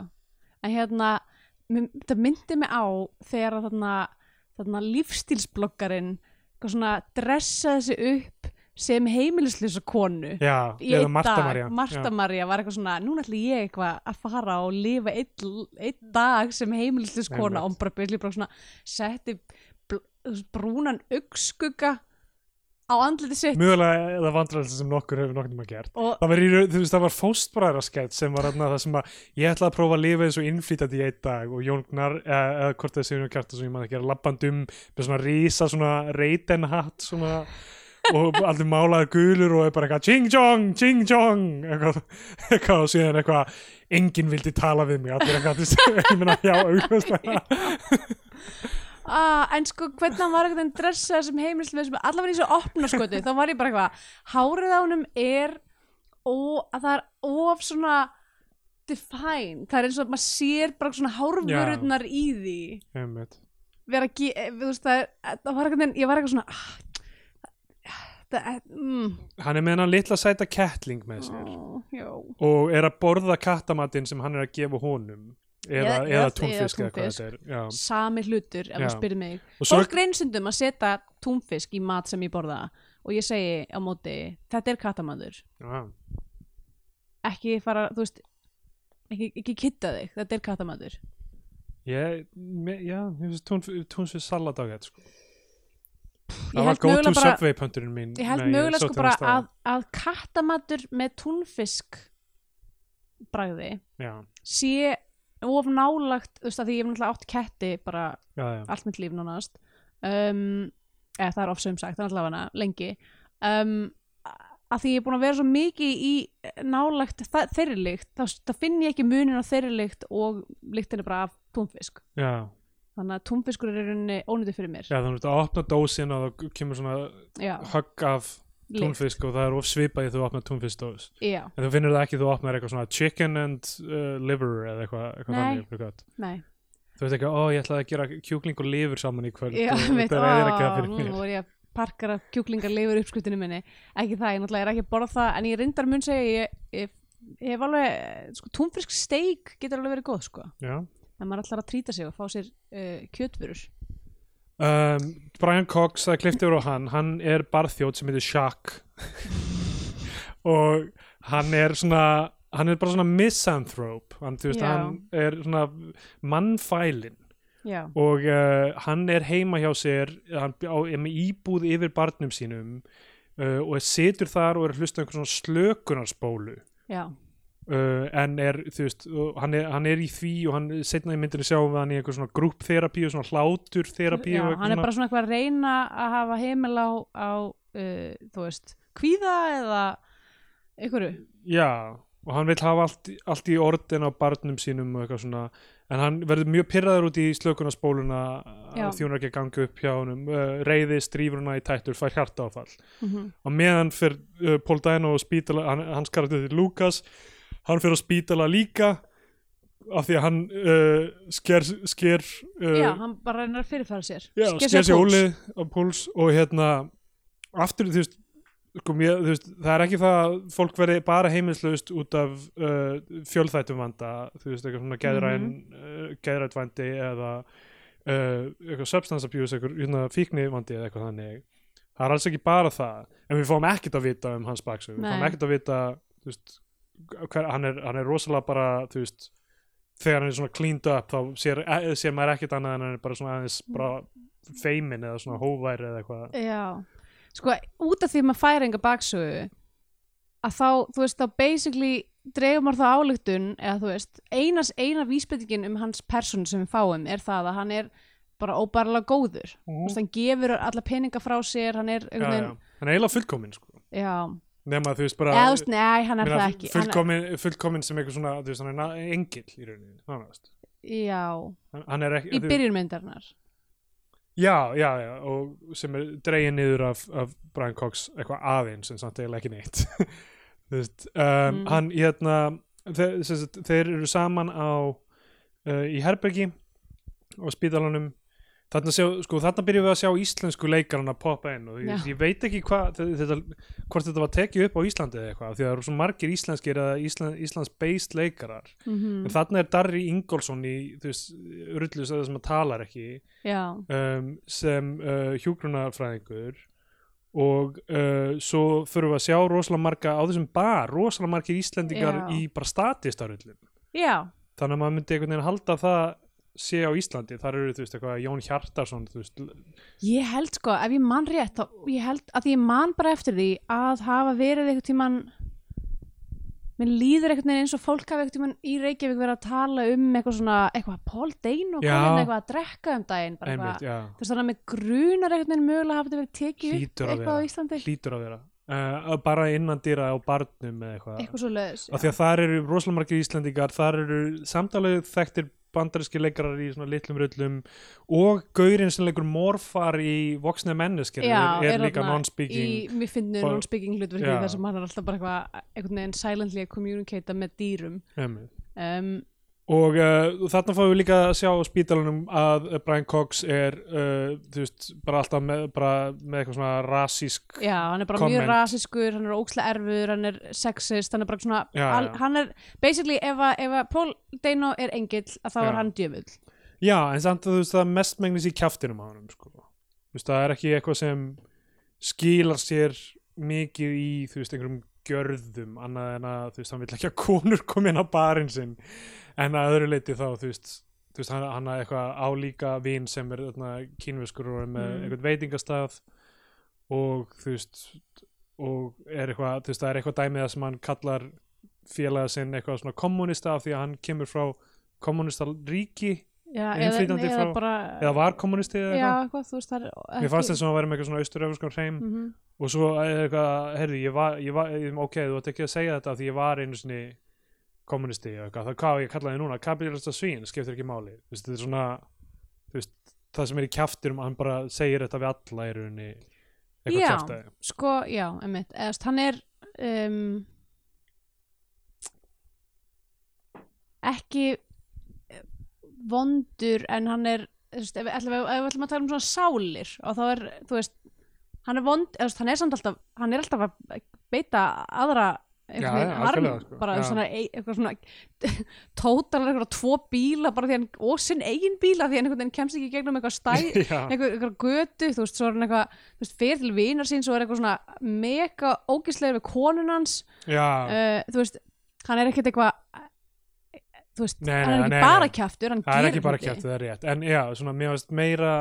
[SPEAKER 2] En hérna, mér- þetta myndi mig á þegar að þarna, þarna lífstílsbloggarinn eitthvað svona dressaði sig upp sem heimilislausa konu
[SPEAKER 1] já,
[SPEAKER 2] í
[SPEAKER 1] eða
[SPEAKER 2] einn
[SPEAKER 1] Marta
[SPEAKER 2] dag.
[SPEAKER 1] María
[SPEAKER 2] Marta María var eitthvað svona, núna ætlum ég eitthvað að fara og lifa einn ein dag sem heimilislust
[SPEAKER 1] Einmitt.
[SPEAKER 2] kona og hún bara byrja bara svona setti bl brúnan augskugga á andliti sitt
[SPEAKER 1] mjögulega eða vandræðilsa sem nokkur hefur nokkur maður gert
[SPEAKER 2] og
[SPEAKER 1] það var, í, raun- þú veist, það var fóstbræðraskett sem var þarna það sem að ég ætla að prófa að lifa eins og innflýtandi í einn dag og Jóngnar, eða eh, hvort það séu nú kjartan sem ég maður ekki er labband um með svona rísa svona reytenhatt svona og allir málaður gulur og er bara eitthvað ching chong, ching chong eitthvað, eitthvað og síðan eitthvað enginn vildi tala við mig allir eitthvað, þú veist, <laughs> ég meina, já, augljóslega
[SPEAKER 2] Ah, en sko hvernig hann var eitthvað dressað sem heimilislaus maður, allavega í þessu opnarskoti þá var ég bara eitthvað, hárið á honum er og það er of svona define, það er eins og maður sér bara svona hárvörurnar í því
[SPEAKER 1] Einmitt.
[SPEAKER 2] vera að ge- eh, þú veist það, er- það var eitthvað, ég var eitthvað svona ah, það, eh, mm,
[SPEAKER 1] hann er með hennan litla sæta kettling með sér
[SPEAKER 2] ó, já
[SPEAKER 1] og er að borða kattamatinn sem hann er að gefa honum eða,
[SPEAKER 2] Eða-
[SPEAKER 1] eða
[SPEAKER 2] eða
[SPEAKER 1] túnfisk eða hvað
[SPEAKER 2] túnfisk.
[SPEAKER 1] þetta er já.
[SPEAKER 2] sami hlutur ef
[SPEAKER 1] Já.
[SPEAKER 2] þú spyrir mig
[SPEAKER 1] og svo
[SPEAKER 2] fólk reynsundum að setja túnfisk í mat sem ég borða og ég segi á móti þetta er kattamadur
[SPEAKER 1] já,
[SPEAKER 2] ekki fara, þú veist ekki, ekki kitta þig, þetta er kattamadur
[SPEAKER 1] ég, me- já, ég finnst túnf, túnfisk salat á þetta sko.
[SPEAKER 2] ég
[SPEAKER 1] það var
[SPEAKER 2] held
[SPEAKER 1] go to
[SPEAKER 2] mögulega bara-
[SPEAKER 1] subway pönturinn mín
[SPEAKER 2] ég held
[SPEAKER 1] nei,
[SPEAKER 2] mögulega
[SPEAKER 1] sótti
[SPEAKER 2] sko
[SPEAKER 1] hann
[SPEAKER 2] bara
[SPEAKER 1] stað.
[SPEAKER 2] að, að kattamadur með túnfisk bragði
[SPEAKER 1] já,
[SPEAKER 2] sé of nálagt þú veist að því ég hef náttúrulega átt ketti bara
[SPEAKER 1] já, já,
[SPEAKER 2] allt mitt líf nánast um, eða það er ofsum sagt, þannig allavega lengi um, að því ég er búin að vera svo mikið í nálægt þa- þeirri lykt, þá, þá finn ég ekki munin á þeirri lykt og lyktin er bara af túnfisk,
[SPEAKER 1] já,
[SPEAKER 2] þannig að túnfiskur er í rauninni ónýttu fyrir mér
[SPEAKER 1] já þannig að þú ert að opna dósin og það kemur svona
[SPEAKER 2] já,
[SPEAKER 1] högg af
[SPEAKER 2] lykt,
[SPEAKER 1] túnfisk og það er of svipað í þú opna túnfiskdós
[SPEAKER 2] já,
[SPEAKER 1] en þú finnur það ekki þú opnar eitthvað svona chicken and uh, liver eða eitthvað, eitthvað
[SPEAKER 2] Nei.
[SPEAKER 1] þannig eitthvað.
[SPEAKER 2] nei
[SPEAKER 1] þú veist ekki, ó ég ætlaði að gera kjúkling og lifur saman í kvöld
[SPEAKER 2] já,
[SPEAKER 1] og
[SPEAKER 2] mitt,
[SPEAKER 1] þetta
[SPEAKER 2] ó,
[SPEAKER 1] er eðileggjað fyrir mér
[SPEAKER 2] nú voru ég að parkara kjúklingar lifur uppskriftinu minni ekki það, ég náttúrulega er ekki að borða það en ég reyndar mun segja, ég, ég, ég hef alveg sko, túnfisk steik getur alveg verið góð, sko
[SPEAKER 1] Já.
[SPEAKER 2] en maður ætlar að trýta sig og fá sér uh, kjötvörur
[SPEAKER 1] Um, Brian Cox, það klifti úr á hann hann er barþjóð sem heitir Shaq <laughs> og hann er svona hann er bara svona misanthrope hann, þú veist,
[SPEAKER 2] Já.
[SPEAKER 1] hann er svona mannfælin
[SPEAKER 2] já,
[SPEAKER 1] og uh, hann er heima hjá sér hann bj- á, er með íbúð yfir barnum sínum uh, og situr þar og er að hlusta á einhver svona slökunarspólu
[SPEAKER 2] já,
[SPEAKER 1] uh, en er, þú veist, og hann er, hann er í því og hann, setna í myndinu sjáum við hann í einhver svona grúppþerapíu, svona hláturþerapíu
[SPEAKER 2] já
[SPEAKER 1] og
[SPEAKER 2] hann er
[SPEAKER 1] svona-
[SPEAKER 2] bara svona eitthvað að reyna að hafa heimil á, á uh, þú veist, kvíða eða einhverju
[SPEAKER 1] Já, og hann vil hafa allt, allt í orðin á barnum sínum og eitthvað svona en hann verður mjög pyrraður út í slökunarspóluna
[SPEAKER 2] Já.
[SPEAKER 1] því hún er ekki að ganga upp hjá honum uh, reyðist, rífur hana í tættur, fær hjartaáfall
[SPEAKER 2] mm
[SPEAKER 1] og meðan fyrir uh, Paul Dano og spítala, hann, hans karakter til Lucas hann fyrir á spítala líka af því að hann uh, sker, sker uh,
[SPEAKER 2] já, hann bara reynir að fyrirfæra sér
[SPEAKER 1] já,
[SPEAKER 2] Sker
[SPEAKER 1] sker sér
[SPEAKER 2] púls.
[SPEAKER 1] ólið á púls og hérna aftur þú veist, sko, mér, þú veist það er ekki það að fólk verði bara heimilslaust út af uh, fjölþættum vanda þú veist eitthvað svona geðræn uh, geðrætt vandi eða uh, eitthvað substance abuse eitthvað hérna, fíkni vandi eða eitthvað þannig það er alls ekki bara það en við fáum ekkert að vita um hans baksög við
[SPEAKER 2] Nei.
[SPEAKER 1] fáum ekkert að vita þú veist, hver, hann, er, hann er rosalega bara þú veist þegar hann er svona cleaned up þá sér, eh, sér maður ekkert annað en hann er bara svona aðeins bara feimin eða svona hóværi eða eitthvað
[SPEAKER 2] já, sko út af því að maður færi enga baksögu að þá, þú veist, þá basically dreifum maður þá álíktun eða þú veist, einas, eina vísbendingin um hans persónu sem við fáum er það að hann er bara óbærilega góður Þú veist, hann gefur alla peninga frá sér hann er
[SPEAKER 1] já,
[SPEAKER 2] einhvern
[SPEAKER 1] já. hann er eiginlega fullkomin sko.
[SPEAKER 2] veginn já,
[SPEAKER 1] nema þú veist bara
[SPEAKER 2] eða þú veist, nei, hann er
[SPEAKER 1] meina,
[SPEAKER 2] það ekki Hann-
[SPEAKER 1] fullkomin, fullkomin sem eitthvað svona þú veist, hann er na- engill í rauninni nánast.
[SPEAKER 2] já,
[SPEAKER 1] Hann- hann er ekki
[SPEAKER 2] í
[SPEAKER 1] þú-
[SPEAKER 2] byrjun myndarinnar
[SPEAKER 1] já, já, já, og sem er dregin niður af, af Brian Cox eitthvað aðeins en samt eiginlega ekki neitt <laughs> þú veist, um,
[SPEAKER 2] Mm.
[SPEAKER 1] hann hérna þeir, sem sagt, þeir eru saman á uh, í herbergi og spítalanum þarna, sjá, sko, þarna byrjum við að sjá íslensku leikarana poppa inn og ég,
[SPEAKER 2] Já.
[SPEAKER 1] ég veit ekki hva, þetta, hvort þetta var tekið upp á Íslandi eða eitthvað, af því að það eru svo margir íslenskir eða Ísland, Íslands based leikarar
[SPEAKER 2] mhm,
[SPEAKER 1] en þarna er Darri Ingolson í, þú veist, rullus að það sem að talar ekki
[SPEAKER 2] já,
[SPEAKER 1] um, sem uh, hjúgrunarfræðingur og uh, svo förum við að sjá rosalega marga á þessum bar, rosalega margir Íslendingar
[SPEAKER 2] Já.
[SPEAKER 1] í bara statistaröllum
[SPEAKER 2] já
[SPEAKER 1] þannig að maður myndi einhvern veginn halda að það sé á Íslandi, þar eru þú veist eitthvað Jón Hjartarsson, þú veist
[SPEAKER 2] Ég held sko, ef ég man rétt þá, ég held að ég man bara eftir því að hafa verið einhvern tímann mér líður einhvern veginn eins og fólk hafi einhvern tímann í Reykjavík verið að tala um eitthvað svona, eitthvað Paul Dano
[SPEAKER 1] Já.
[SPEAKER 2] komin eitthvað að drekka um daginn bara
[SPEAKER 1] einmitt,
[SPEAKER 2] eitthvað,
[SPEAKER 1] já,
[SPEAKER 2] þú veist þannig að mig grunar einhvern veginn mögulega hafa þetta verið tekið upp
[SPEAKER 1] Hlýtur að
[SPEAKER 2] eitthvað
[SPEAKER 1] vera.
[SPEAKER 2] á Íslandi,
[SPEAKER 1] hlýtur að vera uh, bara innan dýra á barnum eða eitthvað,
[SPEAKER 2] eitthvað svo löðis
[SPEAKER 1] af því að þar eru rosalega margir Íslendingar, þar eru samtalið þekktir bandaríski leikarar í svona litlum rullum og gaurinn sem leikur morfar í voksna menneskir er, er líka non-speaking
[SPEAKER 2] í, mér finnur
[SPEAKER 1] Bara-
[SPEAKER 2] non-speaking hlutverki
[SPEAKER 1] Já.
[SPEAKER 2] þar sem hann er alltaf bara eitthvað einhvern veginn silently að communicata með dýrum
[SPEAKER 1] Einmitt.
[SPEAKER 2] um,
[SPEAKER 1] Og uh, þarna fáum við líka að sjá á spítalunum að uh, Brian Cox er, uh, þú veist, bara alltaf með, bara með eitthvað svona rasísk.
[SPEAKER 2] Já, hann er bara
[SPEAKER 1] Comment.
[SPEAKER 2] mjög rasiskur, hann er ókslega erfur, hann er sexist, hann er bara svona,
[SPEAKER 1] Já,
[SPEAKER 2] al-
[SPEAKER 1] já.
[SPEAKER 2] hann er, basically, ef að, ef að Paul Dano er engill, að þá
[SPEAKER 1] Já.
[SPEAKER 2] er hann djöfull.
[SPEAKER 1] Já, en samt að þú veist, það er mestmengnis í kjaftinum á honum, sko. Þú veist, það er ekki eitthvað sem skilar sér mikið í, þú veist, einhverjum gjörðum, annað en að, þú veist, hann vill ekki að konur komi inn á barinn sinn, en að öðru leiti þá, þú veist, þú veist, hann, hann er eitthvað álíka vin sem er þarna, kínveskur og er með
[SPEAKER 2] Mm.
[SPEAKER 1] eitthvað veitingastað og, þú veist, og er eitthvað, þú veist, það er eitthvað dæmið það sem hann kallar félaga sinn eitthvað svona kommunista af því að hann kemur frá kommunista ríki
[SPEAKER 2] Já,
[SPEAKER 1] Er
[SPEAKER 2] eða,
[SPEAKER 1] innflytjandi
[SPEAKER 2] eða
[SPEAKER 1] frá-
[SPEAKER 2] bara,
[SPEAKER 1] eða var kommunisti eða
[SPEAKER 2] já,
[SPEAKER 1] eitthvað
[SPEAKER 2] eitthvað, þú veist, það er ekki.
[SPEAKER 1] mér fannst þess að hann væri með eitthvað svona austuröfuskan hreim
[SPEAKER 2] Mm
[SPEAKER 1] og svo er eitthvað, heyrðu, ég var, ég var ég- ok, þú ætti ekki að segja þetta af því ég var einu sinni kommunisti eða eitthvað, það hvað á ég kallaði núna kapitalista svín, skiptir ekki máli þú veist, þetta er svona þú veist, það sem er í kjaftinum, hann bara segir þetta við alla í rauninni eitthvað
[SPEAKER 2] Já.
[SPEAKER 1] kjaftaði
[SPEAKER 2] Sko, já, emmitt, eða, þú veist, hann er, um, ekki eh, vondur, en hann er, þú veist, ef, ef, ef, ef við ætlum að tala um svona sálir, og þá er, þú veist, hann er vond, eða, þú veist, hann er samt alltaf hann er alltaf að beita aðra
[SPEAKER 1] Já,
[SPEAKER 2] einhvern veginn
[SPEAKER 1] já,
[SPEAKER 2] harm,
[SPEAKER 1] algjörlega, sko.
[SPEAKER 2] bara
[SPEAKER 1] Já.
[SPEAKER 2] já. svona ei- eitthvað svona <laughs> tótalar eitthvað tvo bíla bara því hann, og sinn eigin bíla því hann einhvern veginn kemst ekki í gegnum eitthvað stæð
[SPEAKER 1] <laughs> Já,
[SPEAKER 2] eitthvað, eitthvað götu, þú veist, svo er hann eitthvað þú veist, fyrir til vinar sín, svo er eitthvað svona mega ógislegur við konun hans
[SPEAKER 1] já,
[SPEAKER 2] uh, þú veist, hann er ekkert eitthvað þú veist,
[SPEAKER 1] Nei, nei,
[SPEAKER 2] hann er ekki
[SPEAKER 1] nei,
[SPEAKER 2] bara
[SPEAKER 1] nei.
[SPEAKER 2] kjaftur hann
[SPEAKER 1] það er
[SPEAKER 2] gerir
[SPEAKER 1] ekki bara
[SPEAKER 2] hluti.
[SPEAKER 1] kjaftið, það er rétt en já, svona, mér veist meira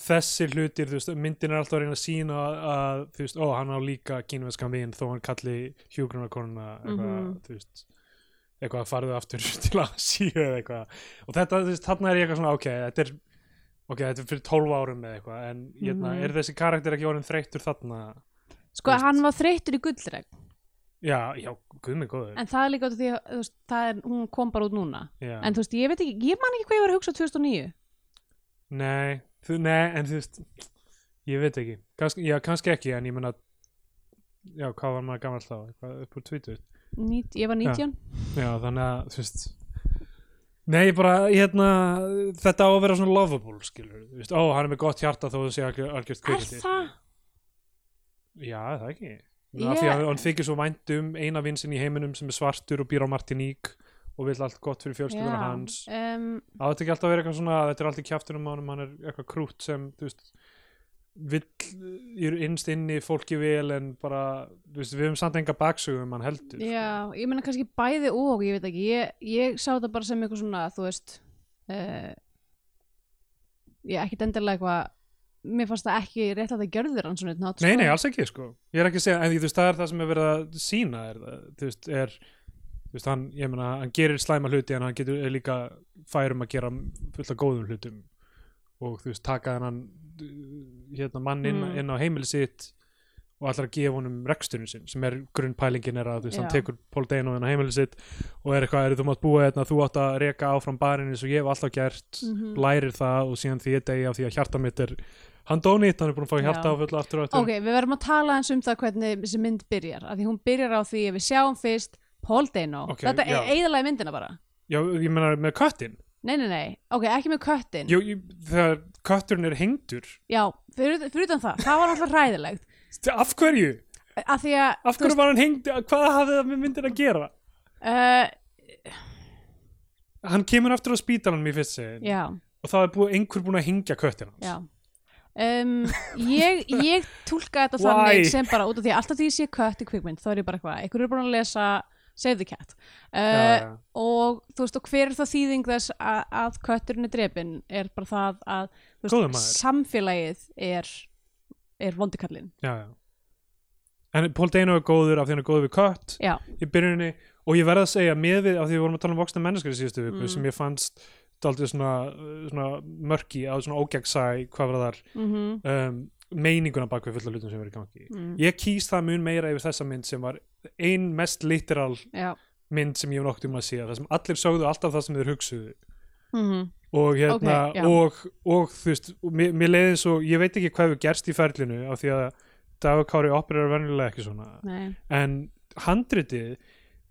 [SPEAKER 1] þessi hlutir, þú veist, myndin er alltaf að reyna að sína að, að þú veist, ó, hann á líka kínveskan vin þó hann kalli hjúgrunarkonuna eitthvað,
[SPEAKER 2] Mhm.
[SPEAKER 1] þú veist eitthvað að farðu aftur <laughs> til að síu eða eitthvað og þetta, þú veist, þarna er ég eitthvað svona ok, þetta er, ok, þetta er fyrir 12 árum eða eitthvað, en hérna,
[SPEAKER 2] Mhm.
[SPEAKER 1] er þessi karakter ekki orðin þreyttur þarna
[SPEAKER 2] sko,
[SPEAKER 1] þú veist.
[SPEAKER 2] hann var þreyttur í gullreg
[SPEAKER 1] já, já, guðmi góður
[SPEAKER 2] en það er líka út af því að þú veist, það er, hún kom bara út núna
[SPEAKER 1] já.
[SPEAKER 2] en þú veist, ég veit ekki, ég man ekki hvað ég var að hugsa 2009
[SPEAKER 1] Nei, þú, nei, en þú veist ég veit ekki, Kansk, já, kannski ekki en ég meina já, hvað var maður gammal þá, eitthvað upp úr tvítur
[SPEAKER 2] Nít, ég var 19
[SPEAKER 1] já, þannig að, þú veist nei, ég bara, hérna þetta á að vera svona lovable, skilur þú veist, ó, hann er með gott hjarta þó þú sé algjör, algjört
[SPEAKER 2] er
[SPEAKER 1] kvikindi
[SPEAKER 2] það?
[SPEAKER 1] já, er það ekki
[SPEAKER 2] Ég-
[SPEAKER 1] yeah. því að hann þykir svo vænt um eina vinsinn í heiminum sem er svartur og býr á Martiník og vill allt gott fyrir fjölskylduna hans
[SPEAKER 2] um,
[SPEAKER 1] Það átti ekki alltaf að vera eitthvað svona þetta er alltaf kjaftunum á honum, hann er eitthvað krútt sem þú veist vill, er innst inni fólki vel en bara, þú veist, við höfum samt enga baksögum hann heldur sko.
[SPEAKER 2] já, ég meina kannski bæði og ég veit ekki, ég, ég sá þetta bara sem eitthvað svona, þú veist uh, ég ekkit endilega eitthvað mér fannst það ekki rétt að það gjörður hann svona einn hátt,
[SPEAKER 1] Nei,
[SPEAKER 2] sko.
[SPEAKER 1] nei, alls ekki, sko Ég er ekki að segja, en þú veist, það er það sem er verið að sína er, það, þú veist, er þú veist, hann, ég meina, hann gerir slæma hluti en hann getur er líka færum að gera fullt af góðum hlutum og þú veist, taka þennan uh, hérna mann inn,
[SPEAKER 2] Mm.
[SPEAKER 1] inn á heimili sitt og allar að gefa honum reksturinn sinn sem er grunnpælingin er að þú veist, hann
[SPEAKER 2] Já.
[SPEAKER 1] tekur Paul Dano inn á heimili sitt og er eitthvað, er þú mátt búa hérna, þú átt að reka áfram barinn eins og ég hef alltaf gert
[SPEAKER 2] Mhm.
[SPEAKER 1] lærir það og síðan því ég degi af því að hjarta mitt er hann dónýtt, hann er búin að fá
[SPEAKER 2] Já.
[SPEAKER 1] hjarta áföll aftur og aftur
[SPEAKER 2] ok, við verðum að tala eins um það hvernig þessi mynd byrjar, af því hún byrjar á því að við sjáum fyrst Paul Dano
[SPEAKER 1] Ok,
[SPEAKER 2] þetta
[SPEAKER 1] já.
[SPEAKER 2] er eiginlega myndina bara
[SPEAKER 1] Já, ég meina með köttin
[SPEAKER 2] nei, nei, nei, ok, ekki með köttin
[SPEAKER 1] Jú, ég, þegar kötturinn er hengdur
[SPEAKER 2] já, fyrir, fyrir utan það, það var alltaf ræðilegt
[SPEAKER 1] af hverju?
[SPEAKER 2] af því að,
[SPEAKER 1] Af hverju var hann hengdur? Hvað hafði það með myndin að gera?
[SPEAKER 2] uh,
[SPEAKER 1] Hann kemur aftur á spítalanum í fyrst segin
[SPEAKER 2] já
[SPEAKER 1] og það er búið, einhver búin að hengja köttin hans
[SPEAKER 2] Já
[SPEAKER 1] <laughs>
[SPEAKER 2] um, ég, ég tólka þetta
[SPEAKER 1] Why?
[SPEAKER 2] þannig sem bara út af því að alltaf því ég sé kött í kvikmynd þá er ég bara eitthvað, einhver er búin að lesa Save the Cat
[SPEAKER 1] Já,
[SPEAKER 2] uh,
[SPEAKER 1] já.
[SPEAKER 2] og þú veist og hver er það þýðing þess að, að kötturinn er drepin er bara það að þú
[SPEAKER 1] Góður
[SPEAKER 2] veist,
[SPEAKER 1] maður.
[SPEAKER 2] samfélagið er, er vondikallin
[SPEAKER 1] Já, já. En Paul Dano er góður af því hann er góður við kött
[SPEAKER 2] já,
[SPEAKER 1] í byrjuninni og ég verð að segja með við af því við vorum að tala um voksna menneskur í síðustu viku
[SPEAKER 2] Mm.
[SPEAKER 1] sem ég fannst daldið svona, svona mörki á svona ógegnsæ hvað var þar
[SPEAKER 2] mm
[SPEAKER 1] um, meininguna bak við fulla hlutum sem verið í gangi
[SPEAKER 2] Mm.
[SPEAKER 1] ég kýs það mun meira yfir þessa mynd sem var ein mest literal
[SPEAKER 2] já.
[SPEAKER 1] mynd sem ég hef nokkuð um að séð það sem allir sögðu alltaf það sem þeir hugsuðu
[SPEAKER 2] Mm
[SPEAKER 1] og hérna
[SPEAKER 2] Ok, já.
[SPEAKER 1] og, og þú veist, og mér, mér leiði eins og ég veit ekki hvað hefur gerst í ferlinu af því að Dagur Kári operar venjulega ekki svona
[SPEAKER 2] Nei.
[SPEAKER 1] en handritið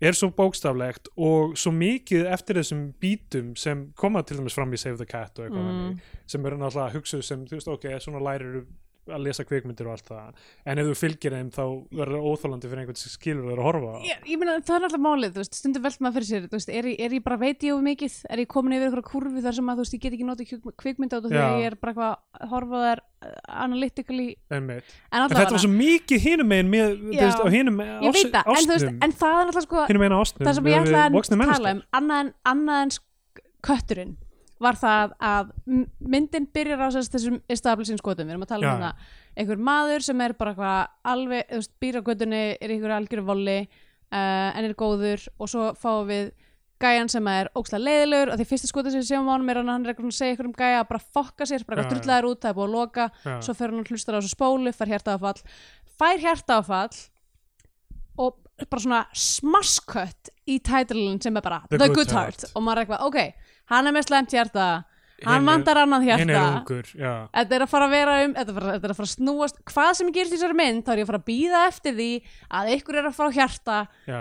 [SPEAKER 1] er svo bókstaflegt og svo mikið eftir þessum bítum sem koma til dæmis fram í Save the Cat og eitthvað
[SPEAKER 2] Mm.
[SPEAKER 1] þannig, sem eru náttúrulega hugsuð sem, þú veist, ok, svona lærir að lesa kvikmyndir og allt það en ef þú fylgir þeim þá verður það óþólandi fyrir einhvern sem skilur þeir að horfa á.
[SPEAKER 2] Ég, ég meina það er alltaf málið, þú veist, stundum velt maður fyrir sér, þú veist, er ég, er ég bara veit ég of mikið, er ég komin yfir eitthvað kurfu þar sem að þú veist, ég get ekki notið kjúk- kvikmynd á þetta
[SPEAKER 1] Já.
[SPEAKER 2] þegar ég er bara eitthvað að horfa á þær uh, analytically,
[SPEAKER 1] Einmitt.
[SPEAKER 2] en
[SPEAKER 1] en
[SPEAKER 2] alltaf
[SPEAKER 1] þetta var svo mikið hinum megin með, þú
[SPEAKER 2] Já.
[SPEAKER 1] veist, á hinum
[SPEAKER 2] ég veit það, en þú veist,
[SPEAKER 1] ástum
[SPEAKER 2] en það er alltaf sko,
[SPEAKER 1] hinum megin ástum
[SPEAKER 2] það sem ég
[SPEAKER 1] við- við
[SPEAKER 2] ætlaði
[SPEAKER 1] voxnar
[SPEAKER 2] að
[SPEAKER 1] menneskur.
[SPEAKER 2] tala um, annað en, annað en sk- kötturinn, var það að m- myndin byrjar á sérst þessum establishing skotum, við erum að tala um
[SPEAKER 1] Já.
[SPEAKER 2] það, einhver maður sem er bara eitthvað alveg, þú veist, býr á göttunni, er einhver algjöru volli, uh, en er góður og svo fáum við gæjan sem er ókslega leiðilegur og því fyrsta skotið sem við séum á honum er hann að hann er eitthvað að segja eitthvað um gæja að bara fokka sér, bara
[SPEAKER 1] Já, já.
[SPEAKER 2] eitthvað drullaður út, það er búið að loka
[SPEAKER 1] Já.
[SPEAKER 2] svo fer hann og hlustar á þessu spólu, fær hjartaáfall fær hjartaáfall og bara svona smaskött í tætlun sem er bara The, Good, Heart og maður er eitthvað, ok, hann er með slemt hjarta
[SPEAKER 1] Hinn
[SPEAKER 2] hann
[SPEAKER 1] er-
[SPEAKER 2] vantar annað
[SPEAKER 1] hinn er
[SPEAKER 2] hjarta
[SPEAKER 1] ungur, já
[SPEAKER 2] Þetta er að fara að vera um, þetta er að fara, þetta er að fara að snúast, hvað sem ég gerist í þessari mynd, þá er ég að fara að býða eftir því að ykkur er að fara á hjarta
[SPEAKER 1] já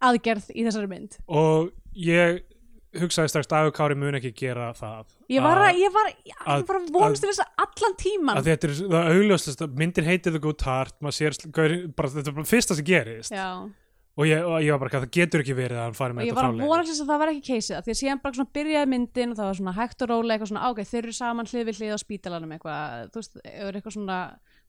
[SPEAKER 2] aðgerð í þessari mynd.
[SPEAKER 1] og ég hugsaði strax Dagur Kári mun ekki gera það
[SPEAKER 2] Ég var
[SPEAKER 1] að,
[SPEAKER 2] að, ég var, ég
[SPEAKER 1] að-
[SPEAKER 2] var að vonast til þess að allan tíman.
[SPEAKER 1] að þetta er það augljósast myndir heitir The Good Heart maður sér, sl- gaur- bara, þetta er bara fyrsta sem gerist
[SPEAKER 2] Já,
[SPEAKER 1] og ég, og ég var bara, það getur ekki verið að hann fari
[SPEAKER 2] og
[SPEAKER 1] með
[SPEAKER 2] ég
[SPEAKER 1] þetta
[SPEAKER 2] var að
[SPEAKER 1] frálega
[SPEAKER 2] vonast til þess að það var ekki keysið, af því að síðan bara svona byrjaði myndin og það var svona hægt og rólega eitthvað svona, ok, þeir eru saman hlið við hlið á spítalanum eitthvað, þú veist, eru eitthvað svona,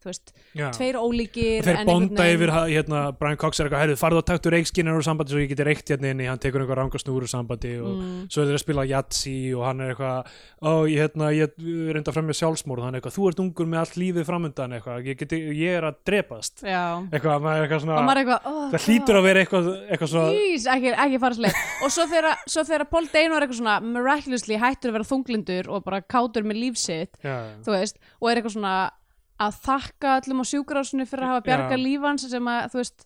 [SPEAKER 2] þú veist,
[SPEAKER 1] Já.
[SPEAKER 2] tveir ólíkir.
[SPEAKER 1] þeir
[SPEAKER 2] en einhvern
[SPEAKER 1] bonda
[SPEAKER 2] veginn-
[SPEAKER 1] yfir ha- hérna, Brian Cox er eitthvað, herðu, farðu og taktu reikskinnur úr sambandi svo ég geti reikt hérna inni, hann tekur einhver rangasnúr úr sambandi og
[SPEAKER 2] Mm.
[SPEAKER 1] svo er þeir að spila jatsi og hann er eitthvað, ó, ég, hérna, ég reynda fram með sjálfsmórð, hann er eitthvað, þú ert ungur með allt lífið framundan eitthvað, ég, geti, ég er að drepast
[SPEAKER 2] Já,
[SPEAKER 1] eitthvað, maður er eitthvað svona
[SPEAKER 2] og maður er eitthvað, oh,
[SPEAKER 1] það hlýtur að vera eitthvað, eitthvað svona
[SPEAKER 2] Ís, ekki, ekki fara sleið og svo þegar, svo þegar Paul Dano er eitthvað svona miraculously hættur að vera þunglindur og bara kátur með líf sitt
[SPEAKER 1] já,
[SPEAKER 2] þú veist, og er eitthvað svona að þakka allum á sjúkrásinu fyrir að hafa bjarga
[SPEAKER 1] Já.
[SPEAKER 2] lífans sem að, þú veist,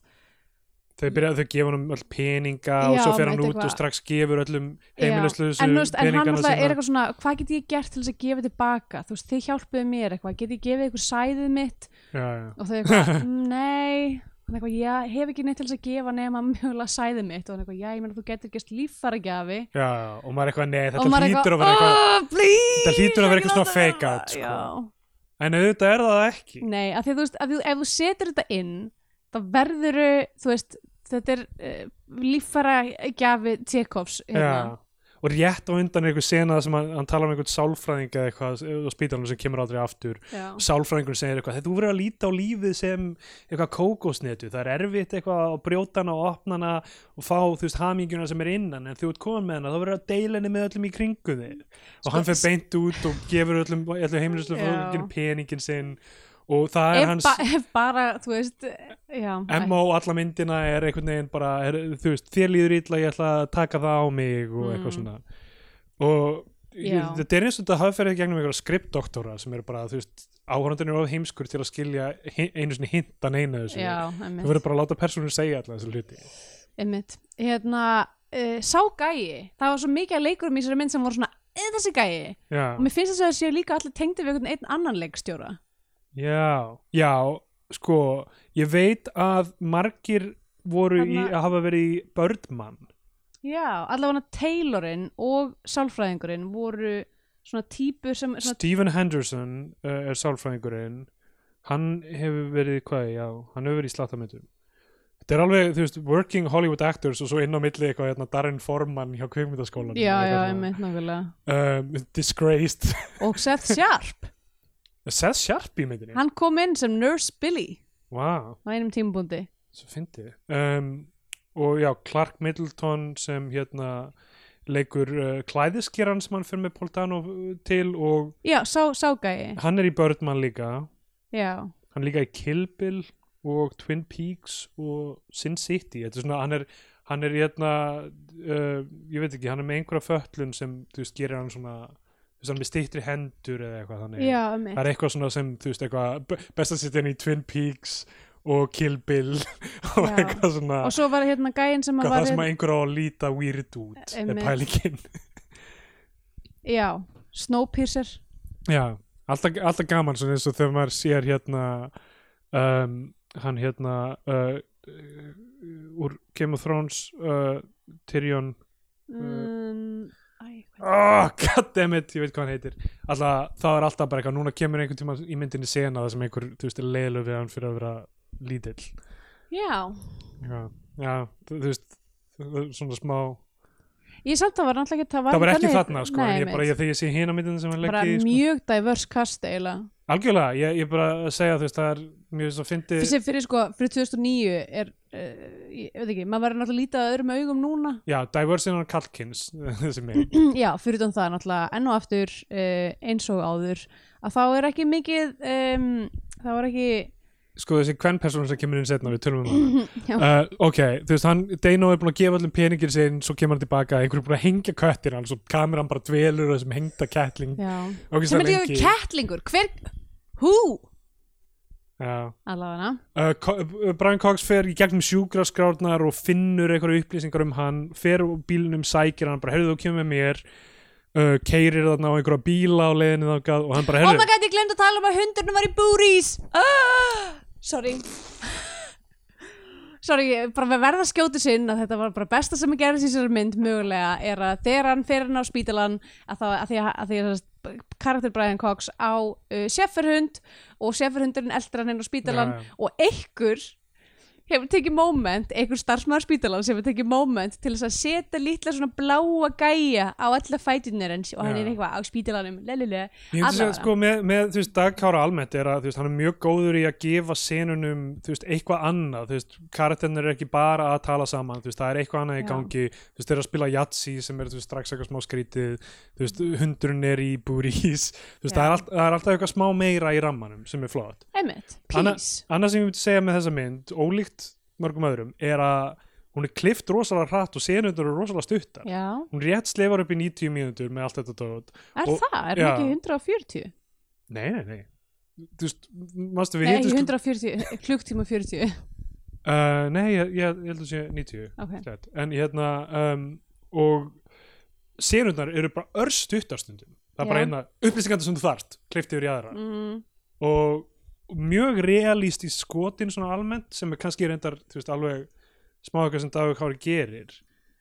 [SPEAKER 1] þau byrjaði að gefa hann öll peninga og
[SPEAKER 2] Já,
[SPEAKER 1] svo fer hann
[SPEAKER 2] veit
[SPEAKER 1] út
[SPEAKER 2] eitthvað.
[SPEAKER 1] og strax gefur öllum
[SPEAKER 2] já. en, þú
[SPEAKER 1] heimilisluðsum
[SPEAKER 2] veist, en hann
[SPEAKER 1] peningana
[SPEAKER 2] alltaf er
[SPEAKER 1] sína
[SPEAKER 2] eitthvað svona hvað get ég gert til þess að gefa tilbaka þú veist, þið hjálpuðu mér eitthvað, get ég gefið ykkur sæðið mitt
[SPEAKER 1] já, já.
[SPEAKER 2] og þau
[SPEAKER 1] <laughs>
[SPEAKER 2] eitthvað, "Mm, nei Hann eitthvað, ég hef ekki neitt til þess að gefa nema mjögulega sæðið mitt og hann eitthvað, já, ég meina þú getur gest líffæragjafi
[SPEAKER 1] Já, já, og maður er eitthvað, nei,
[SPEAKER 2] og
[SPEAKER 1] þetta
[SPEAKER 2] maður
[SPEAKER 1] hlýtur að
[SPEAKER 2] eitthvað,
[SPEAKER 1] vera eitthvað
[SPEAKER 2] oh, please
[SPEAKER 1] Þetta hlýtur að vera
[SPEAKER 2] ekki
[SPEAKER 1] eitthvað svona
[SPEAKER 2] láta vera
[SPEAKER 1] fake out,
[SPEAKER 2] það."
[SPEAKER 1] sko. en auðvitað er það ekki
[SPEAKER 2] Já, nei, af því að þú veist af því, ef þú setur þetta inn þá verður þú veist þetta er uh, líffara gjafi Tjekovs hérna.
[SPEAKER 1] já. og rétt á undan er eitthvað sena þar sem hann, hann talar um einhvern sálfræðing eða eitthvað á spítalunum sem kemur aldrei aftur
[SPEAKER 2] Já.
[SPEAKER 1] sálfræðingur segir eitthvað, þetta þú verður að líta á lífið sem eitthvað kókosnetu, það er erfitt eitthvað að brjóta hana og opna hana og fá, þú veist, haminguna sem er innan en þú ert komin með hana, þá verður að deila henni með öllum í kringu þig og hann fer beint út og gefur öllum, öllum heimilislu
[SPEAKER 2] Sko, Já.
[SPEAKER 1] peningin sinn og það er
[SPEAKER 2] ef,
[SPEAKER 1] hans
[SPEAKER 2] ba ef bara, þú veist já,
[SPEAKER 1] MO alla myndina er einhvern veginn bara, er, þú veist, þér líður illa, ég ætla að taka það á mig og eitthvað svona og
[SPEAKER 2] Mm. Já.
[SPEAKER 1] þetta er eins og þetta hafi ferið í gegnum einhverja skriptdoktora sem eru bara, þú veist, áhörandin er of heimskur til að skilja hi- einu sinni hintan einu af þessu.
[SPEAKER 2] já,
[SPEAKER 1] Þú
[SPEAKER 2] emmitt,
[SPEAKER 1] verður bara að láta persónur segja alltaf þessu hluti.
[SPEAKER 2] emmitt. hérna, uh, sá gæi það var svo mikið að leikur um í þessari mynd sem voru svona eða þessi gæi,
[SPEAKER 1] Já,
[SPEAKER 2] og mér finnst þess að það séu líka allir tengdi við einhvern einn annan leikstjóra
[SPEAKER 1] já, já, sko, ég veit að margir voru í,
[SPEAKER 2] Þarna-
[SPEAKER 1] að hafa verið í Birdman.
[SPEAKER 2] já, allavega Taylorinn og sálfræðingurinn voru svona típur sem svona,
[SPEAKER 1] Stephen Henderson uh, er sálfræðingurinn hann hefur verið, hvað, já hann hefur verið í slattamöndum þetta er alveg, þú veist, working Hollywood actors og svo inn á milli eitthvað, hérna, Darren Forman hjá kvikmyndaskólan
[SPEAKER 2] já, já, emmitt, nákvæmlega
[SPEAKER 1] um, Disgraced <laughs>
[SPEAKER 2] og Seth Sharp,
[SPEAKER 1] Seth Sharp í myndinni,
[SPEAKER 2] hann kom inn sem Nurse Billy
[SPEAKER 1] wow,
[SPEAKER 2] á einum tímabúndi
[SPEAKER 1] svo fyndi um, og já, Clark Middleton sem hérna leikur uh, klæðiskeran sem hann fyrir með Poltano til og
[SPEAKER 2] já, sá, sá gæi,
[SPEAKER 1] hann er í Birdman líka
[SPEAKER 2] já
[SPEAKER 1] hann er líka í Kill Bill og Twin Peaks og Sin City þetta er svona, hann er hann er hérna, uh, ég veit ekki hann er með einhverja fötlun sem, þú veist, gerir hann svona, þú veist, hann er með stýttri hendur eða eitthvað þannig,
[SPEAKER 2] Já, emmitt
[SPEAKER 1] það er eitthvað svona sem þú veist, eitthvað, b- best að setja hann í Twin Peaks og Kill Bill <laughs> og
[SPEAKER 2] Já.
[SPEAKER 1] eitthvað svona
[SPEAKER 2] Og svo var hérna gæinn sem að
[SPEAKER 1] hvað
[SPEAKER 2] var
[SPEAKER 1] það sem
[SPEAKER 2] hérna-
[SPEAKER 1] að einhver á að líta weird út er
[SPEAKER 2] Einmitt.
[SPEAKER 1] pælingin
[SPEAKER 2] Já, Snowpiercer
[SPEAKER 1] Já, alltaf, alltaf gaman svona eins og þegar maður sér hérna um, hann hérna uh, uh, úr Game of Thrones uh, Tyrion Mm.
[SPEAKER 2] um, æ, hvað-
[SPEAKER 1] oh, <laughs> goddammit, ég veit hvað hann heitir alltaf, það er alltaf bara eitthvað, núna kemur einhvern tíma í myndinni sena það sem einhver, þú veist, er leilu við hann fyrir að vera lítill
[SPEAKER 2] Já,
[SPEAKER 1] Já, já þú, þú veist það er svona smá,
[SPEAKER 2] ég samt það var náttúrulega ekki
[SPEAKER 1] það var ekki
[SPEAKER 2] þannig-
[SPEAKER 1] þarna sko,
[SPEAKER 2] Nei,
[SPEAKER 1] en ég bara, ég, þegar ég sé hina myndin sem hann
[SPEAKER 2] bara
[SPEAKER 1] leggir, sko,
[SPEAKER 2] mjög diverse cast eiginlega
[SPEAKER 1] algjörlega ég, ég bara að segja, þú veist, það er mjög svo fyndi,
[SPEAKER 2] Fyrir, fyrir sko, fyrir 2009 er, uh, ég veit ekki, maður verður náttúrulega lítið að öðrum augum núna
[SPEAKER 1] já, diverse innan kalkins <laughs> þessi mynd
[SPEAKER 2] <clears throat> Já, fyrir utan það náttúrulega enn og aftur uh, eins og áður að þá er ekki mikið um, þá er ekki
[SPEAKER 1] sko þessi kvennpersónu sem kemur inn setna við tölum um
[SPEAKER 2] <laughs> Já.
[SPEAKER 1] hann uh, ok, þú veist hann Deino er búin að gefa allum peningir sinn svo kemur hann tilbaka, einhver er búin að hengja köttir hann, svo kameran bara dvelur á þessum hengda kettling
[SPEAKER 2] Já,
[SPEAKER 1] ok, það
[SPEAKER 2] sem er líka
[SPEAKER 1] lengi
[SPEAKER 2] kettlingur, hver hú,
[SPEAKER 1] Já.
[SPEAKER 2] allavega
[SPEAKER 1] uh, Co- uh, Brian Cox fer í gegnum sjúkraskrárnar og finnur einhverju upplýsingar um hann fer úr bílunum, sækir hann bara, heyrðu þú kemur með mér uh, keirir þarna á einhverja bíla á leiðinu þangað og hann bara,
[SPEAKER 2] Oh my
[SPEAKER 1] heyrðu
[SPEAKER 2] god, ég glemt að tala um að hundurnum var í búrís ah, Sorry Sorry, ég bara við verða að skjóta sinn að þetta var bara besta sem að gera þessari mynd mögulega er að þegar hann fer inn á spítalan að, þá, að því að, að, því að sem sagt, karakter Brian Cox á uh, sefferhund og sefferhundurinn eldur hann inn á spítalan
[SPEAKER 1] Já, já.
[SPEAKER 2] og einhver hefur tekið moment, einhver starfsmaður spítalan sem hefur tekið moment til þess að setja lítla svona bláa gæja á alla fætunir hans og hann
[SPEAKER 1] Já.
[SPEAKER 2] er eitthvað á spítalanum lelele,
[SPEAKER 1] Ég myndi segja
[SPEAKER 2] Allavega.
[SPEAKER 1] sko með, með þú veist dagkára almennt er að þú veist hann er mjög góður í að gefa senunum þú veist eitthvað annað þú veist karakternir er ekki bara að tala saman þú veist það er eitthvað annað í
[SPEAKER 2] Já.
[SPEAKER 1] gangi þú veist þeir eru að spila jatsi sem er þú veist strax eitthvað smá skrítið þú veist hundurinn er í búrís þú veist
[SPEAKER 2] Já.
[SPEAKER 1] það er, allt, það er alltaf eitthvað smá meira í rammanum sem er flott
[SPEAKER 2] Einmitt,
[SPEAKER 1] Anna-
[SPEAKER 2] peace
[SPEAKER 1] annað sem ég myndi segja með þessa mynd ólíkt mörgum öðrum er að hún er klift rosalega hratt og senundur eru rosalega stuttar
[SPEAKER 2] Já,
[SPEAKER 1] hún rétt slefar upp í 90 mínútur með allt þetta dót
[SPEAKER 2] er
[SPEAKER 1] Og-
[SPEAKER 2] það? Er
[SPEAKER 1] já.
[SPEAKER 2] það ekki 140?
[SPEAKER 1] Nei, nei, nei Þú veist, mástu við
[SPEAKER 2] Nei,
[SPEAKER 1] hittum
[SPEAKER 2] ekki
[SPEAKER 1] sko-
[SPEAKER 2] 140, <laughs> klukktíma 40
[SPEAKER 1] Uh, Nei, ég, ég, ég held að sé 90
[SPEAKER 2] <laughs> Ok,
[SPEAKER 1] rétt. En hérna um, Og Senundar eru bara örstuttar stundum Það er bara
[SPEAKER 2] Já.
[SPEAKER 1] hérna upplýsingandi sem þú þarft Kleift yfir í aðra
[SPEAKER 2] mm,
[SPEAKER 1] Og mjög realist í skotin svona almennt Sem er kannski reyndar, þú veist, alveg Smá eitthvað sem Dagur Kári gerir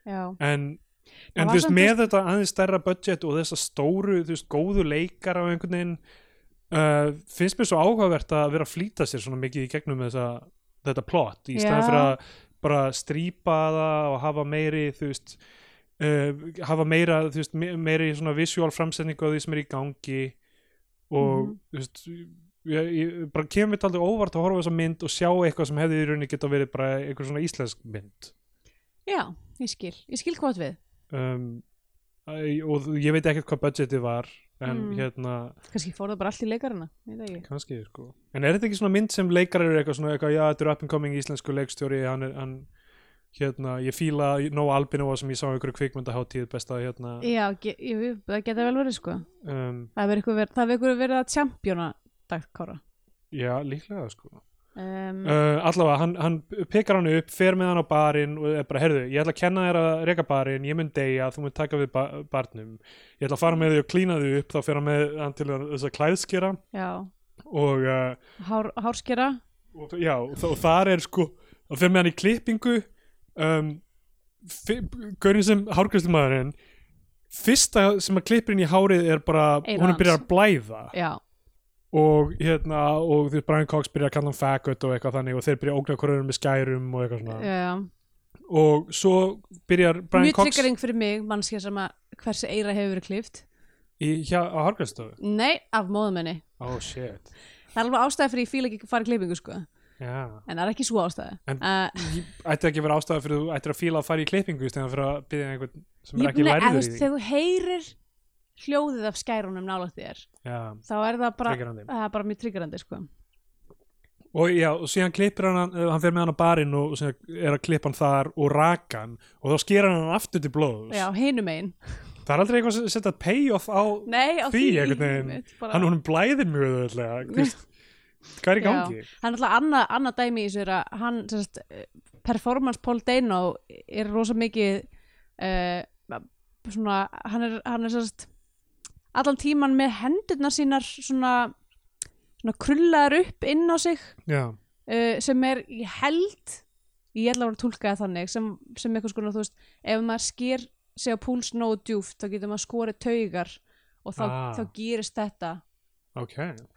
[SPEAKER 2] já
[SPEAKER 1] En
[SPEAKER 2] Það
[SPEAKER 1] En
[SPEAKER 2] var
[SPEAKER 1] þú veist,
[SPEAKER 2] samt
[SPEAKER 1] með þetta aðeins stærra budget og þessa stóru, þú veist, góðu leikar á einhvern veginn uh, finnst mér svo áhugavert að vera að flýta sér svona mikið í gegnum þessa, þetta plot í staðan
[SPEAKER 2] Já.
[SPEAKER 1] fyrir að bara strýpa það og hafa meiri, þú veist uh, hafa meira, þú veist, me- meiri svona visual framsetningu á því sem er í gangi og,
[SPEAKER 2] Mhm.
[SPEAKER 1] þú veist ég, ég bara kemur þetta aldrei óvart að horfa á þessa mynd og sjá eitthvað sem hefði í rauninni geta verið bara einhver svona íslensk mynd
[SPEAKER 2] Já, ég skil, ég skil hvað þú átt við
[SPEAKER 1] um, æ, og þú- ég veit ekkert hvað budgetið var en
[SPEAKER 2] Mm.
[SPEAKER 1] hérna
[SPEAKER 2] Kannski fór það bara allt í leikarana Ég veit ekki
[SPEAKER 1] kannski sko en er þetta ekki svona mynd sem leikar eru eitthvað svona eitthvað já þetta er up and coming íslensku leikstjóri hann, er, hann hérna, ég fíla nóg albinóa sem ég sá ykkur kvikmyndaháttíð besta hérna
[SPEAKER 2] já, ge- jú, jú, það geta vel verið sko
[SPEAKER 1] um,
[SPEAKER 2] það hefur ykkur verið, það hefur ykkur verið að champjóna dagkára
[SPEAKER 1] já, líklega sko
[SPEAKER 2] um,
[SPEAKER 1] uh, allavega, hann, hann pekar hann upp fer með hann á barinn og er bara, heyrðu ég ætla að kenna þér að reka barinn, ég mun deyja þú mun taka við ba barnum ég ætla að fara með þig og klína þig upp, þá fer hann með hann til þess að klæðskera
[SPEAKER 2] já,
[SPEAKER 1] og, uh,
[SPEAKER 2] hár, hárskera
[SPEAKER 1] og já, og, þa- og þar er sko og fer með hann í klippingu um, fi- gaurinn sem hárgræslumæðurinn fyrsta sem að klippir inn í hárið er bara,
[SPEAKER 2] Eyrað
[SPEAKER 1] hún
[SPEAKER 2] hans.
[SPEAKER 1] byrjar að blæða
[SPEAKER 2] já,
[SPEAKER 1] og hérna, og því Brian Cox byrjar að kalla hann faggot og eitthvað þannig og þeir byrja að ógna hverjum með skærum og eitthvað svona
[SPEAKER 2] já, já
[SPEAKER 1] og svo byrjar Brian
[SPEAKER 2] mjög
[SPEAKER 1] Cox
[SPEAKER 2] triggering fyrir mig, mannskja sem að hversu eira hefur verið klift
[SPEAKER 1] í, hjá, á Harkastofu
[SPEAKER 2] nei, af móðumenni
[SPEAKER 1] oh shit
[SPEAKER 2] það er alveg ástæði fyrir ég fíla ekki að fara í klippingu sko
[SPEAKER 1] já
[SPEAKER 2] en það er ekki svo ástæði
[SPEAKER 1] En-
[SPEAKER 2] uh,
[SPEAKER 1] Ég- ætti ekki að vera ástæða fyrir þú ættir að fíla að fara í klippingu í stæðan fyrir að byrja einhvern sem er
[SPEAKER 2] ég,
[SPEAKER 1] ekki
[SPEAKER 2] nei, eða, þú
[SPEAKER 1] lærður
[SPEAKER 2] veist,
[SPEAKER 1] í því
[SPEAKER 2] þegar þú heyrir hljóðið af skærunum nálægt þér
[SPEAKER 1] já,
[SPEAKER 2] þá er það bara,
[SPEAKER 1] triggerandi.
[SPEAKER 2] það er bara mjög triggerandi sko.
[SPEAKER 1] og já, og síðan klippir hann eh, hann hann fer með hann á barinn og, og síðan er að klippa hann þar og raka hann og þá skera hann hann aftur til blóðs
[SPEAKER 2] já, hinum einn
[SPEAKER 1] það er aldrei eitthvað að setja payoff á
[SPEAKER 2] nei, á
[SPEAKER 1] því einhvern veginn
[SPEAKER 2] einmitt, bara-
[SPEAKER 1] hann honum blæðir mjög auðvöldlega hvað er í
[SPEAKER 2] Já.
[SPEAKER 1] gangi?
[SPEAKER 2] Það er náttúrulega annað, annað dæmi í þessu er að hann, sem sagt, eh, performance Paul Dano er rosa mikið uh, svona, hann er, hann er sem sagt, allan tíman með hendurnar sínar svona, svona krullaðar upp inn á sig
[SPEAKER 1] Já.
[SPEAKER 2] uh, sem er, ég held ég ætla að vera að túlka það þannig sem, sem eitthvað skona, þú veist, ef maður sker sig á púls nógu djúft, þá getur maður skorið taugar og þá,
[SPEAKER 1] Ah.
[SPEAKER 2] þá gerist þetta
[SPEAKER 1] ok,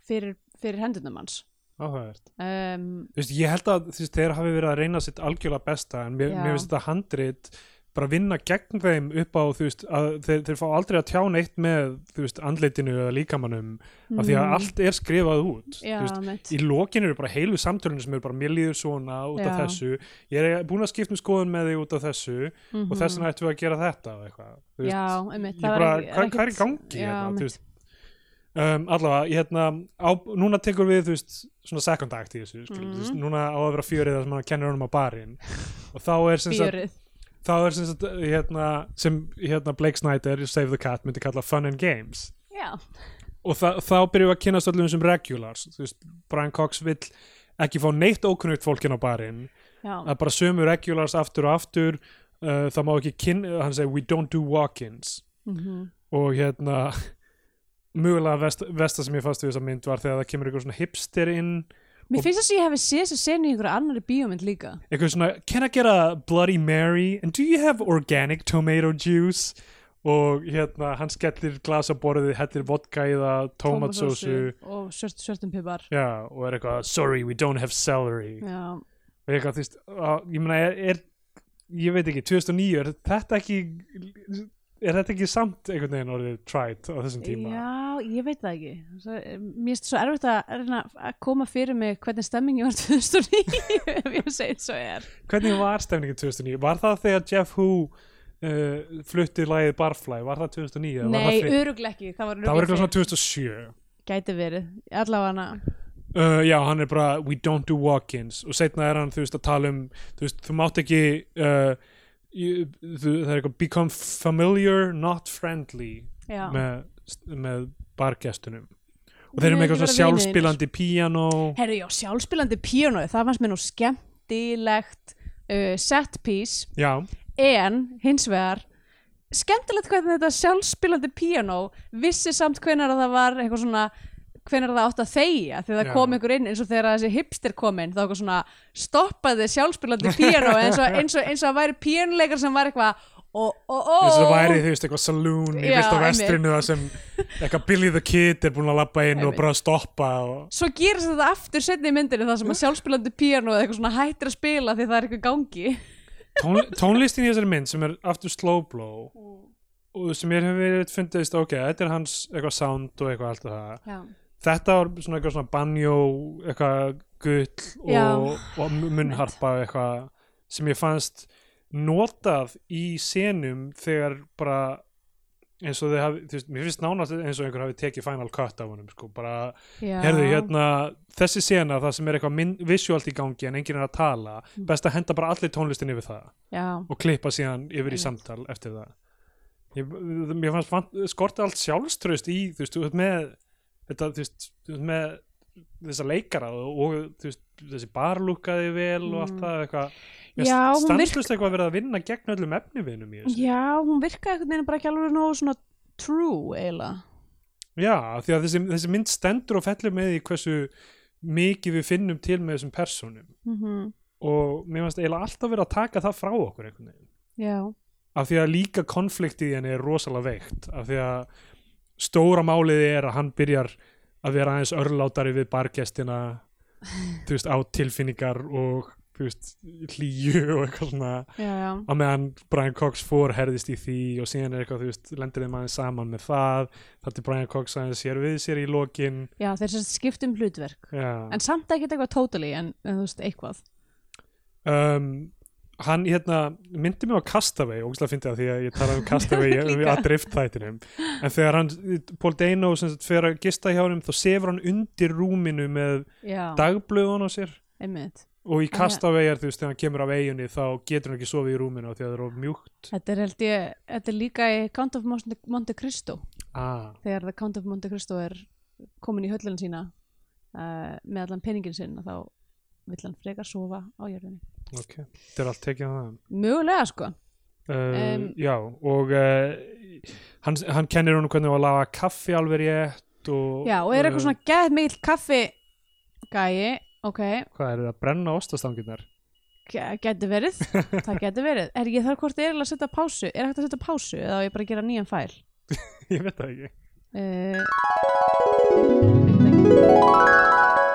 [SPEAKER 2] fyrir, fyrir hendurnar manns
[SPEAKER 1] áhverð
[SPEAKER 2] um,
[SPEAKER 1] Þú veist, ég held að þú veist, þeir hafi verið að reyna sitt algjörlega besta en mér,
[SPEAKER 2] Já.
[SPEAKER 1] mér finnst þetta handrit bara vinna gegn þeim upp á þú veist, að þeir, þeir fá aldrei að tjá neitt með þú veist, andleitinu eða líkamannum af því að allt er skrifað út þú
[SPEAKER 2] Mm. Já,
[SPEAKER 1] veist,
[SPEAKER 2] mitt.
[SPEAKER 1] í lokin eru bara heilu samtölun sem eru bara mér líður svona út af
[SPEAKER 2] Já.
[SPEAKER 1] þessu ég er búin að skipta um skoðun með þig út af þessu
[SPEAKER 2] Mhm.
[SPEAKER 1] og þess vegna ættum við að gera þetta og eitthvað þú veist,
[SPEAKER 2] Já, einmitt,
[SPEAKER 1] ég
[SPEAKER 2] það er
[SPEAKER 1] bara,
[SPEAKER 2] ekki- er
[SPEAKER 1] hvað, hvað er í
[SPEAKER 2] ekkert-
[SPEAKER 1] gangi
[SPEAKER 2] já,
[SPEAKER 1] hérna, þú
[SPEAKER 2] einmitt.
[SPEAKER 1] veist um, allavega, hérna á, núna tekur við, þú veist, svona second act í þessu, mm.
[SPEAKER 2] Mhm.
[SPEAKER 1] veist, núna á að vera fjörið þar sem hann kennir honum á barinn og þá er sem sagt,
[SPEAKER 2] fjörið
[SPEAKER 1] þá er sem sagt hérna, sem hérna Blake Snyder, Save the Cat, myndi kalla Fun and Games
[SPEAKER 2] já,
[SPEAKER 1] og þa þá byrjum við að kynast öllum þessum regulars, þú veist, Brian Cox vill ekki fá neitt ókunnugt fólkin á barinn
[SPEAKER 2] já,
[SPEAKER 1] að bara sömu regulars aftur og aftur uh, það má ekki kynna, hann segir we don't do walk-ins
[SPEAKER 2] mhm,
[SPEAKER 1] og hérna <laughs> mögulega vest, vesta sem ég fannst við þessa mynd var þegar það kemur einhver svona hipster inn
[SPEAKER 2] mér finnst þess að ég hefði séð þess að senu í einhverju annari bíómynd líka
[SPEAKER 1] einhver svona, can I get a Bloody Mary and do you have organic tomato juice og hérna hann skellir glas á borðið, hellir vodka í það tómatsósu,
[SPEAKER 2] Tómatsósu og svört, svörtum pipar
[SPEAKER 1] já, og er eitthvað sorry, we don't have celery
[SPEAKER 2] já,
[SPEAKER 1] og eitthvað, þú veist, á- ég meina er, er, ég veit ekki, 2009 er þetta ekki er þetta ekki samt einhvern veginn orðið tried á þessum tíma
[SPEAKER 2] já, ég veit það ekki svo, eh, mér finnst svo erfitt að, reyna að koma fyrir mig hvernig stemming ég var <laughs> 2009 ef ég segið svo er
[SPEAKER 1] hvernig var stemningin 2009? Var það þegar Jeff Hu uh, flutti lagið Barfly? Var það 2009? eða var
[SPEAKER 2] nei,
[SPEAKER 1] það, fyrir-
[SPEAKER 2] öruglega ekki, það var
[SPEAKER 1] það var
[SPEAKER 2] öruglega
[SPEAKER 1] eitthvað svona 2007.
[SPEAKER 2] gæti verið, allavega hana
[SPEAKER 1] Uh, já, hann er bara we don't do walk-ins og setna er hann þú veist að tala um þú veist, þú mátt ekki uh, you, þú, það er eitthvað become familiar, not friendly
[SPEAKER 2] já,
[SPEAKER 1] með, með bargestunum og þeir eru með
[SPEAKER 2] Vilja
[SPEAKER 1] eitthvað
[SPEAKER 2] ekki
[SPEAKER 1] svona
[SPEAKER 2] vera vinir
[SPEAKER 1] sjálfspilandi piano
[SPEAKER 2] Herru, já, sjálfspilandi píanóið, það fannst mér nú skemmtilegt uh, set piece
[SPEAKER 1] já,
[SPEAKER 2] en hins vegar skemmtilegt hvernig þetta sjálfspilandi píanó vissi samt hvenar að það var eitthvað svona hvenar það átt að þegja þegar það
[SPEAKER 1] Já.
[SPEAKER 2] kom einhver inn eins og þegar þessi hipster kom inn þá eitthvað svona stoppaði sjálfspilandi
[SPEAKER 1] <laughs>
[SPEAKER 2] píanó eins og, eins og, eins og það væri píanleikar sem var eitthvað ó, ó, ó
[SPEAKER 1] eins og það væri þú veist eitthvað saloon í
[SPEAKER 2] Já,
[SPEAKER 1] fyrsta
[SPEAKER 2] einmitt.
[SPEAKER 1] vestrinu það sem eitthvað Billy the Kid er búin að labba inn og
[SPEAKER 2] Einmitt.
[SPEAKER 1] bara að stoppa og
[SPEAKER 2] Svo gerist þetta aftur setni í myndinu þar sem að sjálfspilandi píanó eða eitthvað svona hættir að spila því það er eitthvað í gangi
[SPEAKER 1] Tón, tónlistin í þessari mynd sem er aftur slow blow
[SPEAKER 2] Mm.
[SPEAKER 1] og sem mér hefur verið fundist ok, þetta er hans eitthvað sound og eitthvað allt það
[SPEAKER 2] Já,
[SPEAKER 1] þetta var svona eitthvað svona banjó eitthvað gull
[SPEAKER 2] Já.
[SPEAKER 1] og, og munnharpa og eitthvað sem ég fannst notað í senum þegar bara eins og þið hafi, þú veist, mér finnst nánast eins og einhver hafi tekið final cut af honum sko, bara,
[SPEAKER 2] Já.
[SPEAKER 1] herðu, hérna þessi sena, það sem er eitthvað mynd, visuált í gangi en enginn er að tala,
[SPEAKER 2] Mm.
[SPEAKER 1] best að henda bara allir tónlistin yfir það
[SPEAKER 2] Já,
[SPEAKER 1] og klippa síðan yfir í
[SPEAKER 2] Einmitt.
[SPEAKER 1] samtal eftir það ég, mér fannst vant, skorti allt sjálfströst í þú veist, þú veist með þetta, þú veist, þú veist með þessa leikara og, og þú veist, þessi barlúkaði vel og allt
[SPEAKER 2] Mm.
[SPEAKER 1] það eitthvað
[SPEAKER 2] Já, hún
[SPEAKER 1] stanslust eitthvað verið að vinna gegn öllum efnivinum í þessu
[SPEAKER 2] já, hún virkaði einhvern veginn bara ekki alveg nógu svona true eiginlega.
[SPEAKER 1] já, af því að þessi, þessi mynd stendur og fellur með í hversu mikið við finnum til með þessum personum
[SPEAKER 2] Mm
[SPEAKER 1] og mér fannst eiginlega alltaf verið að taka það frá okkur einhvern veginn
[SPEAKER 2] Já,
[SPEAKER 1] af því að líka konfliktið í henni er rosalega veikt af því að stóra málið er að hann byrjar að vera aðeins örlátari við bargestina þú veist, á tilfinningar og þú veist, hlýju og eitthvað svona
[SPEAKER 2] já, já.
[SPEAKER 1] á meðan Brian Cox fór herðist í því og síðan er eitthvað, þú veist, lendir þeim aðeins saman með það, þar til Brian Cox aðeins sér við sér í lokin
[SPEAKER 2] Já, þeir sem sagt skipta um hlutverk.
[SPEAKER 1] já.
[SPEAKER 2] En samt ekkert eitthvað totally, en, en þú veist, eitthvað.
[SPEAKER 1] um, hann hérna myndi mig á Castaway, ógæslega fyndi það því að ég
[SPEAKER 2] <laughs>
[SPEAKER 1] talaði um Castaway
[SPEAKER 2] Líka.
[SPEAKER 1] við að drift þættinum en þegar hann, Paul Dano sem sagt, fer að gista hjá hann, þá sefur hann undir rúminu með
[SPEAKER 2] Já,
[SPEAKER 1] dagblöðun á sér
[SPEAKER 2] einmitt.
[SPEAKER 1] og í
[SPEAKER 2] já.
[SPEAKER 1] Castaway er þú veist, þegar hann kemur af eiginni þá getur hann ekki sofið í rúminu af því að það er of mjúkt
[SPEAKER 2] Þetta er held ég, þetta er líka í Count of Monte, Monte Cristo,
[SPEAKER 1] ah,
[SPEAKER 2] þegar The Count of Monte Cristo er komin í höllun sína uh, með allan peningin sinn og þá vill hann frekar sofa á jörðinni.
[SPEAKER 1] ok, þetta er allt tekið á það
[SPEAKER 2] Mögulega, sko.
[SPEAKER 1] Uh,
[SPEAKER 2] Um,
[SPEAKER 1] já, og uh, hann, hann kennir hún hvernig á að laga kaffi alveg rétt og,
[SPEAKER 2] Já, og
[SPEAKER 1] uh,
[SPEAKER 2] er eitthvað svona gett mikill kaffi gæi, ok,
[SPEAKER 1] Hvað er það, að brenna ostastanginnar? <laughs>
[SPEAKER 2] getur verið, það getur verið. Er ég þarf hvort er eiginlega að setja pásu, er hægt að setja pásu eða á ég bara að gera nýjan fæl?
[SPEAKER 1] Ég veit það ekki
[SPEAKER 2] Uh, veit það ekki.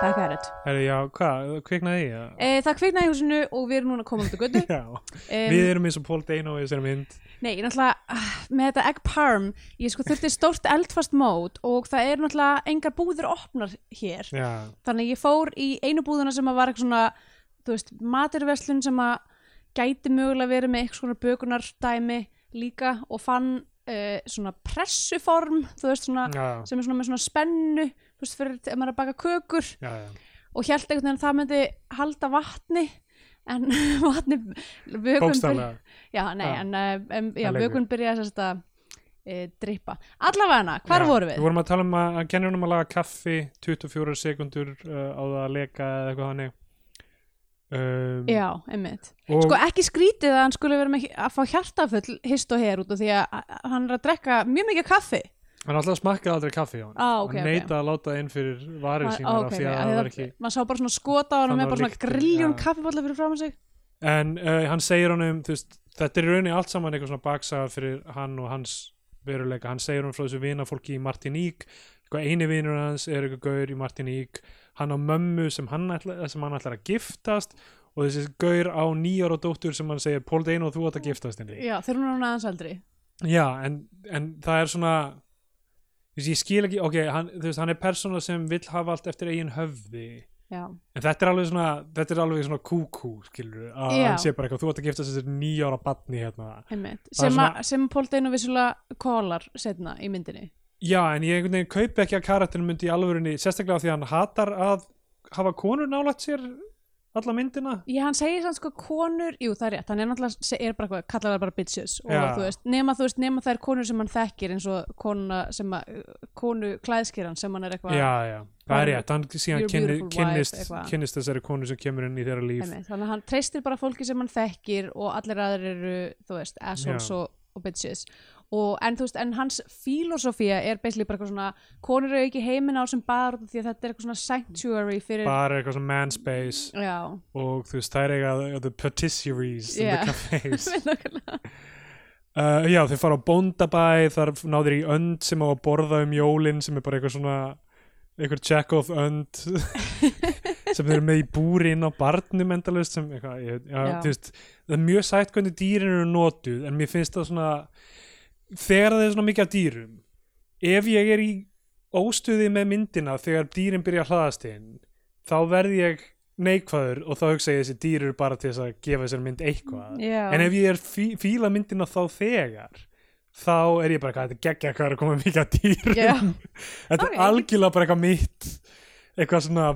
[SPEAKER 2] Back at it.
[SPEAKER 1] Herri, já, hvað, kviknaði ég? eða?
[SPEAKER 2] Uh, það kviknaði í húsinu og við erum núna að koma út á götu.
[SPEAKER 1] Já,
[SPEAKER 2] Um,
[SPEAKER 1] <laughs> við erum eins og Paul Dano í þessari mynd
[SPEAKER 2] Nei, ég náttúrulega, ah, með þetta egg parm, ég sko þurfti stórt eldfast mót og það er náttúrulega engar búðir opnar hér.
[SPEAKER 1] Já,
[SPEAKER 2] Þannig að ég fór í einu búðuna sem að var eitthvað svona, þú veist, maturverslun sem að gæti mögulega verið með eitthvað svona bökunardæmi líka og fann uh, svona pressuform, þú veist, svona,
[SPEAKER 1] já,
[SPEAKER 2] sem er svona með svona spennu, þú veist, fyrir ef maður er að baka kökur
[SPEAKER 1] já, já.
[SPEAKER 2] og held einhvern veginn að það myndi halda vatni en <laughs> vatni vökun
[SPEAKER 1] Bókstaflega
[SPEAKER 2] já, nei,
[SPEAKER 1] Já.
[SPEAKER 2] en, uh, um, já,
[SPEAKER 1] Það leikur.
[SPEAKER 2] vökun byrjaði sérst að e, drippa allavega, hvar
[SPEAKER 1] Já,
[SPEAKER 2] vorum við?
[SPEAKER 1] Við vorum að tala um að, að kennir hún að laga kaffi 24 sekundur uh, á það að leka eða eitthvað hannig um,
[SPEAKER 2] já, einmitt
[SPEAKER 1] og,
[SPEAKER 2] sko ekki skrítið að hann skulle vera með að fá hjartafull hist og her út af því að að hann er að drekka mjög mikið kaffi
[SPEAKER 1] Hann alltaf smakkaði aldrei kaffi á hann
[SPEAKER 2] Á, Ah, ok,
[SPEAKER 1] Hann
[SPEAKER 2] ok.
[SPEAKER 1] neitaði að láta það inn fyrir varir
[SPEAKER 2] Hann-
[SPEAKER 1] sínar
[SPEAKER 2] á,
[SPEAKER 1] af
[SPEAKER 2] ok,
[SPEAKER 1] því
[SPEAKER 2] ok,
[SPEAKER 1] að
[SPEAKER 2] af
[SPEAKER 1] það
[SPEAKER 2] því
[SPEAKER 1] var ekki
[SPEAKER 2] maður sá bara svona skota á hann
[SPEAKER 1] Þannig
[SPEAKER 2] með bara
[SPEAKER 1] var
[SPEAKER 2] svona
[SPEAKER 1] lyktin,
[SPEAKER 2] grilljón
[SPEAKER 1] já.
[SPEAKER 2] kaffibólla fyrir fram sig
[SPEAKER 1] En uh, hann segir honum, þú veist, þetta er í rauninni allt saman eitthvað svona baksaga fyrir hann og hans veruleika. Hann segir honum frá þessu vinafólki í Martiník, eitthvað eini vinur hans er eitthvað gaur í Martiník, hann á mömmu sem hann, ætla, sem hann ætlar að giftast og þessi gaur á nýjar og dóttur sem hann segir, Pól Deino, þú ætlar að giftast henni.
[SPEAKER 2] já, þegar hún er hann aðeins eldri
[SPEAKER 1] Já, en, en það er svona, þú veist, ég skil ekki, ok, hann, þú veist, hann er persóna sem vill hafa allt eftir eigin höfði.
[SPEAKER 2] já,
[SPEAKER 1] En þetta er alveg svona, þetta er alveg svona kúkú, skilur, að
[SPEAKER 2] Já.
[SPEAKER 1] hann sé bara eitthvað, þú ætti að gifta þessi nýjára batni hérna. Það
[SPEAKER 2] einmitt
[SPEAKER 1] er
[SPEAKER 2] sem,
[SPEAKER 1] svona-
[SPEAKER 2] að- sem Pól Deino vissulega kólar setna í myndinni
[SPEAKER 1] Já, en ég einhvern veginn kaupi ekki að karakterinu myndi í alvörinni, sérstaklega af því að hann hatar að hafa konur nálægt sér alla myndina.
[SPEAKER 2] Já, hann segir sann sko konur, jú það er rétt, hann er náttúrulega, se- er bara eitthvað, kallar það bara bitches og
[SPEAKER 1] Já.
[SPEAKER 2] þú veist, nema þú veist, nema það er konur sem hann þekkir eins og konuna sem að, konu klæðskýran sem hann er eitthvað
[SPEAKER 1] Já, já, það er
[SPEAKER 2] Bara-
[SPEAKER 1] rétt, hann síðan
[SPEAKER 2] Your
[SPEAKER 1] kynni,
[SPEAKER 2] beautiful wife,
[SPEAKER 1] kynnist,
[SPEAKER 2] eitthvað.
[SPEAKER 1] kynnist þessari konu sem kemur inn í þeirra líf.
[SPEAKER 2] Einmitt, þannig að hann treystir bara fólki sem hann þekkir og allir aðrir eru, þú veist, assholes
[SPEAKER 1] Já.
[SPEAKER 2] og, og bitches og en þú veist, en hans filosófía er basically bara eitthvað svona, konur eru ekki heiminn á sem baðar út af því að þetta er eitthvað svona sanctuary fyrir,
[SPEAKER 1] Bara eitthvað svona man space
[SPEAKER 2] já,
[SPEAKER 1] og þú veist, það er eitthvað the patisseries
[SPEAKER 2] Já.
[SPEAKER 1] in the
[SPEAKER 2] <laughs>
[SPEAKER 1] cafes.
[SPEAKER 2] nákvæmlega.
[SPEAKER 1] Uh, já, þeir fara á bóndabæ, þar náður í önd sem á að borða um jólin sem er bara eitthvað svona eitthvað check-off
[SPEAKER 2] <laughs>
[SPEAKER 1] önd sem þeir eru með í búri inn á barnum endalust sem eitthvað, ég, já,
[SPEAKER 2] Já.
[SPEAKER 1] þú veist, það er mjög sætt hvernig dýrin eru notuð en mér finnst það svona þegar það er svona mikið af dýrum ef ég er í óstuði með myndina þegar dýrin byrja að hlaðast inn þá verð ég neikvæður og þá hugsa ég þessi dýr eru bara til þess að gefa þessari mynd eitthvað
[SPEAKER 2] Já.
[SPEAKER 1] en ef ég er fí fíla myndina þá þegar þá er ég bara eitthvað, þetta er geggja hvað er að koma mikið að dýrum
[SPEAKER 2] Já.
[SPEAKER 1] <laughs> þetta
[SPEAKER 2] Ok.
[SPEAKER 1] er algjörlega bara eitthvað mitt eitthvað svona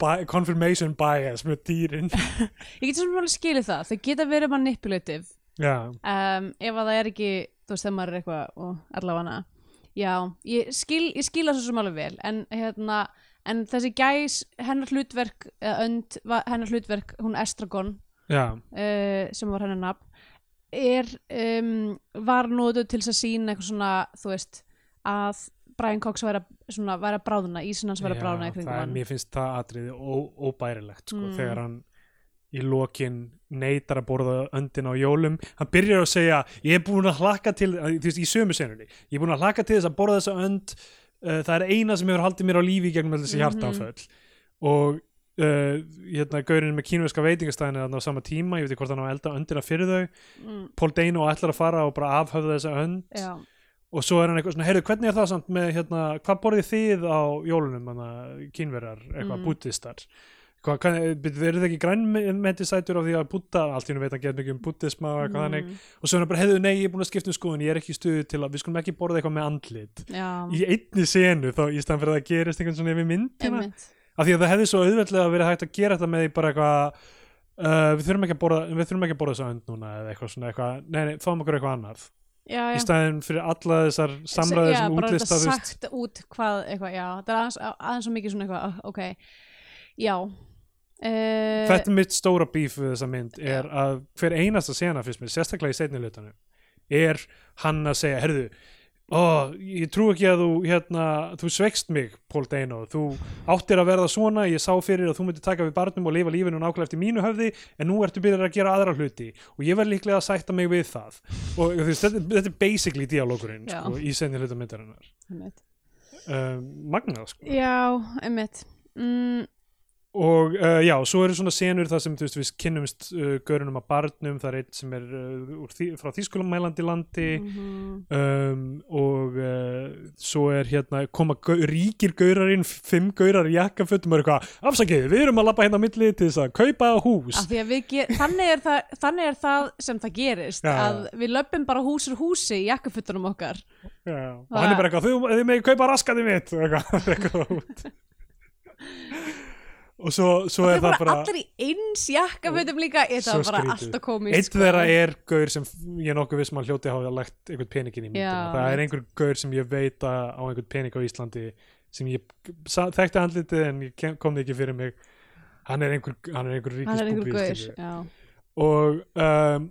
[SPEAKER 1] bi- confirmation bias með dýrin <laughs>
[SPEAKER 2] Ég get svo mjög skilið það, þau geta verið manipulative
[SPEAKER 1] já,
[SPEAKER 2] um, ef að það er ekki þú veist þegar maður er eitthvað og allavega já, ég skil, ég skil það svo sem alveg vel en hérna en þessi gæs, hennar hlutverk eða önd, va- hennar hlutverk, hún Estragon
[SPEAKER 1] já,
[SPEAKER 2] uh, sem var hennar nafn er, um, var nótu til þess að sína eitthvað svona, þú veist að Brian Cox væri að, svona, væri að bráðuna, ísinn hans væri að bráðuna í kringum
[SPEAKER 1] það er,
[SPEAKER 2] hann
[SPEAKER 1] mér finnst það atriði ó, óbærilegt sko,
[SPEAKER 2] Mm.
[SPEAKER 1] þegar hann í lokin neitar að borða öndin á jólum hann byrjar að segja ég er búin að hlakka til, þú veist, í sömu senunni ég er búin að hlakka til þess að borða þessa önd uh, það er eina sem hefur haldið mér á lífi í gegnum öll þessi
[SPEAKER 2] Mhm.
[SPEAKER 1] hjartanföll og uh, hérna, gaurinn með kínuveska veitingastæðinu þarna á sama tíma, ég veit ekki hvort hann á að elda öndina fyrir þau
[SPEAKER 2] mm,
[SPEAKER 1] Paul Dano ætlar að fara og bara afhöfða þessa önd
[SPEAKER 2] já,
[SPEAKER 1] og svo er hann eitthvað svona, heyrðu, hvernig er það samt með hérna, hvað borðið þið á jólunum hana, kínverjar, eitthvað
[SPEAKER 2] Mm.
[SPEAKER 1] mm. búttistar hvað, hvernig, byrju, eru þið ekki grænmetisætur á því að búta allt í hennu veit hann getur mikið um búttisma og eitthvað
[SPEAKER 2] Mm.
[SPEAKER 1] þannig og svo er hann bara, heyrðu, nei, ég er búin að skipta um skoðun ég er ekki í stuðu til að, við skulum ekki borða eitthvað með andlit
[SPEAKER 2] já,
[SPEAKER 1] í einni senu þá í staðan fyrir að það gerist einhvern svona yfir myndina
[SPEAKER 2] einmitt
[SPEAKER 1] af því að það hefði svo auðveldlega verið hægt að gera þetta með því bara eitthvað Uh, við þurfum ekki að borða, við þurfum ekki að borða þessu önd núna eða eitthvað svona eitthvað, nei, nei, fáum okkur eitthvað annað
[SPEAKER 2] já, já.
[SPEAKER 1] í staðin fyrir alla þessar samræðir
[SPEAKER 2] Já,
[SPEAKER 1] sem
[SPEAKER 2] bara
[SPEAKER 1] útlista
[SPEAKER 2] þetta
[SPEAKER 1] þú veist,
[SPEAKER 2] sagt út hvað eitthvað, já, það er aðeins, aðeins svo mikið svona eitthvað, ah, ok, já uh,
[SPEAKER 1] þetta er mitt stóra bíf við þessa mynd er að hver einasta sena fyrst mér, sérstaklega í seinni hlutanum er hann að segja, herðu ó, ég trú ekki að þú hérna, þú svegst mig, Pól Deino þú áttir að verða svona, ég sá fyrir að þú myndir taka við barnum og lifa lífinu nákvæmlega eftir mínu höfði, en nú ertu byrjar að gera aðra hluti og ég verð líklega að sætta mig við það og þú veist, þetta, þetta er basically dialogurinn
[SPEAKER 2] Já.
[SPEAKER 1] sko, í seinni hlutamyndarinnar
[SPEAKER 2] einmitt.
[SPEAKER 1] um, magnað sko
[SPEAKER 2] Já, einmitt mm,
[SPEAKER 1] og uh, já, svo eru svona senur þar sem þú veist, við kynnumst uh, görunum að barnum, það er einn sem er uh, úr því, frá þýskulamælandi landi
[SPEAKER 2] mhm,
[SPEAKER 1] um, og uh, svo er hérna, koma gau, ríkir gaurarinn, fimm gaurar í jakkafötum og eru eitthvað, afsakið, við erum að labba hérna á milli til þess að kaupa hús
[SPEAKER 2] af því að við ger, þannig, er það, þannig er það sem það gerist
[SPEAKER 1] Já, já.
[SPEAKER 2] að við löpum bara hús úr húsi í jakkafuttunum okkar
[SPEAKER 1] já, og hann er bara eitthvað, þau, þau megið kaupa raskandi mitt og eitthvað, <laughs> eitthvað út
[SPEAKER 2] <laughs>
[SPEAKER 1] og svo, svo
[SPEAKER 2] og
[SPEAKER 1] er
[SPEAKER 2] þau
[SPEAKER 1] það
[SPEAKER 2] bara,
[SPEAKER 1] bara
[SPEAKER 2] allir í eins jakkafutum líka þetta
[SPEAKER 1] Svo
[SPEAKER 2] var bara
[SPEAKER 1] skrítið.
[SPEAKER 2] alltaf komið
[SPEAKER 1] Eitt þeirra
[SPEAKER 2] sko.
[SPEAKER 1] er gaur sem ég er nokkuð viss maður hljóti að hafa lagt einhvern peningin í myndina.
[SPEAKER 2] Já,
[SPEAKER 1] það er
[SPEAKER 2] einmitt.
[SPEAKER 1] einhver gaur sem ég veit að á einhvern pening á Íslandi sem ég sa- þekkti andlitið en ég kem- kom því ekki fyrir mig. Hann er einhver, hann er einhver
[SPEAKER 2] hann er einhver gaur
[SPEAKER 1] ríkisbúbíl.
[SPEAKER 2] já,
[SPEAKER 1] Og um,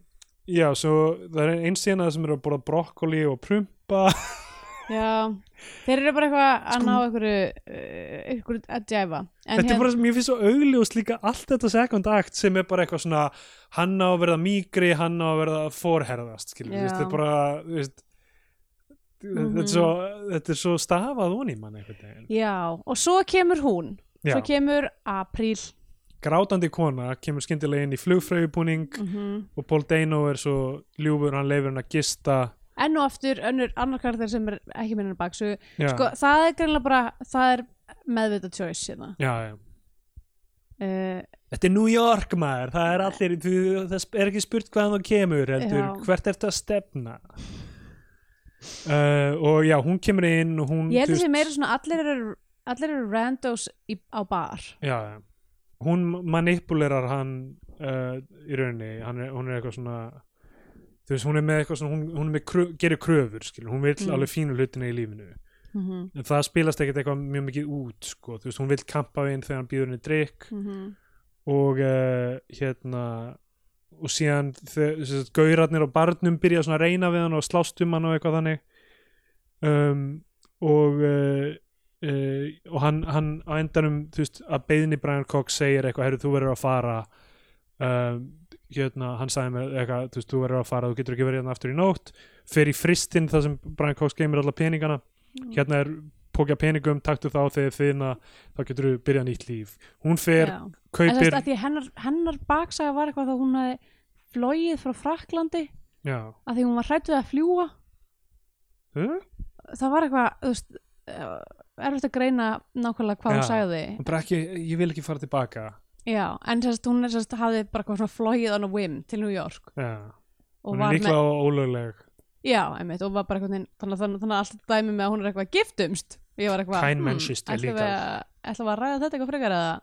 [SPEAKER 1] já, svo það er einn sena sem eru að borða brokkoli og prumpa.
[SPEAKER 2] já, þeir eru bara eitthvað að
[SPEAKER 1] Sko-
[SPEAKER 2] ná einhverju uh, einhverju að djæfa En hérna-
[SPEAKER 1] þetta er bara, mér finnst svo augljós líka allt þetta second act sem er bara eitthvað svona hann á að verða mýgri, hann á að verða forherðast, skilur,
[SPEAKER 2] Já.
[SPEAKER 1] yeah. þetta er bara þú veist, þetta,
[SPEAKER 2] Mhm.
[SPEAKER 1] er svo, þetta er svo stafað onni mann einhvern veginn.
[SPEAKER 2] Já, og svo kemur hún
[SPEAKER 1] Já,
[SPEAKER 2] Svo kemur apríl
[SPEAKER 1] grátandi kona kemur skyndilega inn í flugfröðubúning
[SPEAKER 2] Mm.
[SPEAKER 1] og Paul Dano er svo ljúfur, hann leifur hann að gista
[SPEAKER 2] Enn og aftur önnur annar karakter sem er ekki minnir baksu
[SPEAKER 1] já,
[SPEAKER 2] sko, Það er greinlega bara Það er meðvita choice hérna.
[SPEAKER 1] já, já.
[SPEAKER 2] uh,
[SPEAKER 1] Þetta er New York maður, það er allir þú, það er ekki spurt hvaðan þú kemur heldur,
[SPEAKER 2] Já.
[SPEAKER 1] hvert ertu að stefna uh, og já, hún kemur inn og hún
[SPEAKER 2] Ég
[SPEAKER 1] Mm,
[SPEAKER 2] held
[SPEAKER 1] þú
[SPEAKER 2] að
[SPEAKER 1] veist-
[SPEAKER 2] sé meira svona allir eru, allir eru randos í, á bar
[SPEAKER 1] já, já. hún manipulerar hann uh, í rauninni hann er, hún er eitthvað svona þú veist, hún er með eitthvað svona hún, hún er með kröf, gerir kröfur, skilur, hún vil
[SPEAKER 2] Mm.
[SPEAKER 1] alveg fínu hlutina í lífinu,
[SPEAKER 2] mm -hmm.
[SPEAKER 1] en það spilast ekkert eitthvað mjög mikið út, sko, þú veist, hún vil kampa við inn þegar hann býður henni drikk og uh, hérna og síðan þau- sem sagt, gaurarnir og barnum byrja svona að reyna við hann og slást um hann og eitthvað þannig um, og uh, uh, og hann, hann á endanum þú veist að beiðni Brian Cox segir eitthvað heyrðu þú verður að fara um, hérna hann sagði mér eitthvað þú veist þú verður að fara þú getur ekki verið hérna aftur í nótt fer í fristinn þar sem Brian Cox geymir alla peningana hérna er pókja peningum um, taktu þá þegar þina þá getur þú byrjað nýtt líf hún fer,
[SPEAKER 2] En það
[SPEAKER 1] kaupir
[SPEAKER 2] er að því að hennar, hennar baksaga var eitthvað þá hún hafi flogið frá Fraklandi
[SPEAKER 1] já
[SPEAKER 2] að því hún var hrætt við að fljúa
[SPEAKER 1] Huh?
[SPEAKER 2] Hm? það var eitthvað þú veist, uh, erfitt að greina nákvæmlega hvað hún
[SPEAKER 1] Já.
[SPEAKER 2] sagði
[SPEAKER 1] Hún bara ekki, ég vil ekki fara tilbaka
[SPEAKER 2] Já, en sérst, hún er sérst, hafði bara eitthvað svona flogið on a whim til New York
[SPEAKER 1] já.
[SPEAKER 2] og
[SPEAKER 1] hún
[SPEAKER 2] var
[SPEAKER 1] er
[SPEAKER 2] með,
[SPEAKER 1] líklega með... ólögleg
[SPEAKER 2] já, einmitt, og var bara eitthvað þannig, þannig, þannig að alltaf dæmi með að hún er eitthvað giftumst og ég var eitthvað, "Hmm,
[SPEAKER 1] Kein Mensch ist
[SPEAKER 2] ætlum við að- ætlum við að ræða þetta eitthvað frekar eða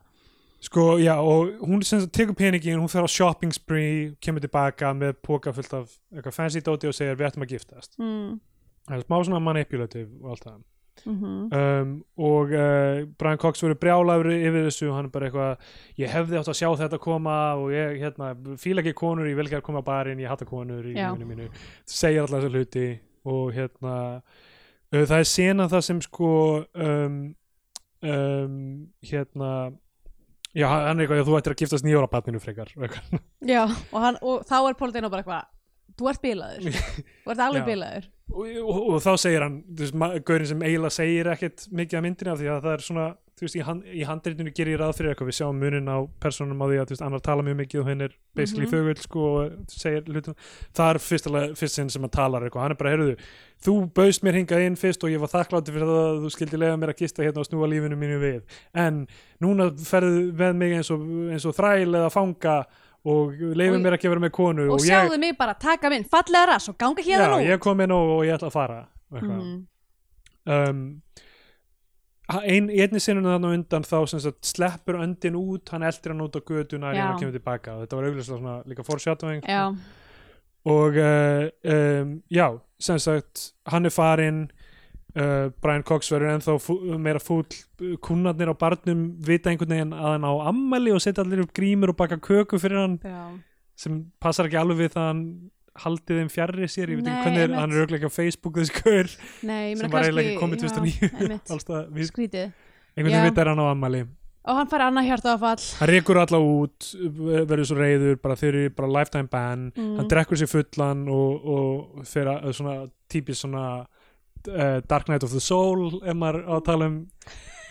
[SPEAKER 1] Sko, já, og hún sem sagt tekur peningin, hún fer á shopping spree, kemur tilbaka með póka fullt af eitthvað fancy dóti og segir við ættum að giftast.
[SPEAKER 2] mm,
[SPEAKER 1] Það er smá svona manipulative og allt það.
[SPEAKER 2] mm -hmm,
[SPEAKER 1] Um, og uh, Brian Cox verið brjálæður yfir þessu, hann er bara eitthvað, ég hefði átt að sjá þetta koma og ég, hérna, fíla ekki konur, ég vil ekki að koma á barinn, ég hata konur í
[SPEAKER 2] Já.
[SPEAKER 1] minu mínu. Segir alltaf þessu hluti og hérna, uh, það er sena það sem sko, um, um, hérna, Já, hann er eitthvað, já, þú ættir að giftast nýjóra batninu frekar. og eitthvað.
[SPEAKER 2] já, og, hann, og þá er Paul Dano bara eitthvað þú
[SPEAKER 1] <laughs>
[SPEAKER 2] ert bílaður, þú ert alveg
[SPEAKER 1] Já.
[SPEAKER 2] bílaður
[SPEAKER 1] Og, og, og þá segir hann, þú veist, ma- gaurinn sem eiginlega segir ekkit mikið af myndinu af því að það er svona, þú veist, í, hand, í handreitinu gerir ég ráð fyrir eitthvað, við sjáum munin á personum á því að, þú veist, annar tala mjög mikið og henn er basically mm
[SPEAKER 2] Mhm.
[SPEAKER 1] sko, og segir hlutum. Það er fyrst, fyrst sinn sem hann talar eitthvað, hann er bara, heyrðu, þú baust mér hingað inn fyrst og ég var þakklátti fyrir það að þú skildi lega mér að gista hérna og snúa lífinu mínu við. En núna ferðu með mig eins og, eins og þræl eða fanga og leifir
[SPEAKER 2] Og-
[SPEAKER 1] mér ekki að vera með konu
[SPEAKER 2] og,
[SPEAKER 1] ég-
[SPEAKER 2] sjáðu mig bara, taka minn, fallega rass og ganga
[SPEAKER 1] já,
[SPEAKER 2] hérna nú
[SPEAKER 1] ég kom inn og, og ég ætla að fara mm.
[SPEAKER 2] Mhm.
[SPEAKER 1] um, ein, einni sinnum þannig undan þá sem sagt, sleppur öndin út, hann eldir hann út á göduna
[SPEAKER 2] Já.
[SPEAKER 1] en hann kemur tilbaka og þetta var augljóslega svona líka foreshadowing
[SPEAKER 2] já,
[SPEAKER 1] og uh, um, já, sem sagt hann er farinn uh, Brian Cox verður ennþá fú, meira fúll kunnarnir á barnum vita einhvern veginn að hann á ammæli og setja allir upp grímur og baka köku fyrir hann
[SPEAKER 2] já,
[SPEAKER 1] sem passar ekki alveg við það að hann haldið þeim fjarrir sér, ég veit
[SPEAKER 2] Nei,
[SPEAKER 1] ekki hvernig er,
[SPEAKER 2] einmitt.
[SPEAKER 1] hann er auðvitað ekki á Facebook þessi gaur
[SPEAKER 2] nei, ég meina
[SPEAKER 1] sem var eiginlega ekki komið
[SPEAKER 2] já,
[SPEAKER 1] 2009
[SPEAKER 2] einmitt.
[SPEAKER 1] allstað, við,
[SPEAKER 2] skrítið
[SPEAKER 1] einhvern
[SPEAKER 2] Já.
[SPEAKER 1] veginn veit er hann á ammali
[SPEAKER 2] og hann fær annað hjartaðafall
[SPEAKER 1] hann rekur alla út, verður svo reyður bara þeir eru bara lifetime ban
[SPEAKER 2] Hmm, Mhm.
[SPEAKER 1] hann drekkur sér fullan og, og fyrir að svona típist svona uh, Dark Knight of the Soul ef maður á að tala um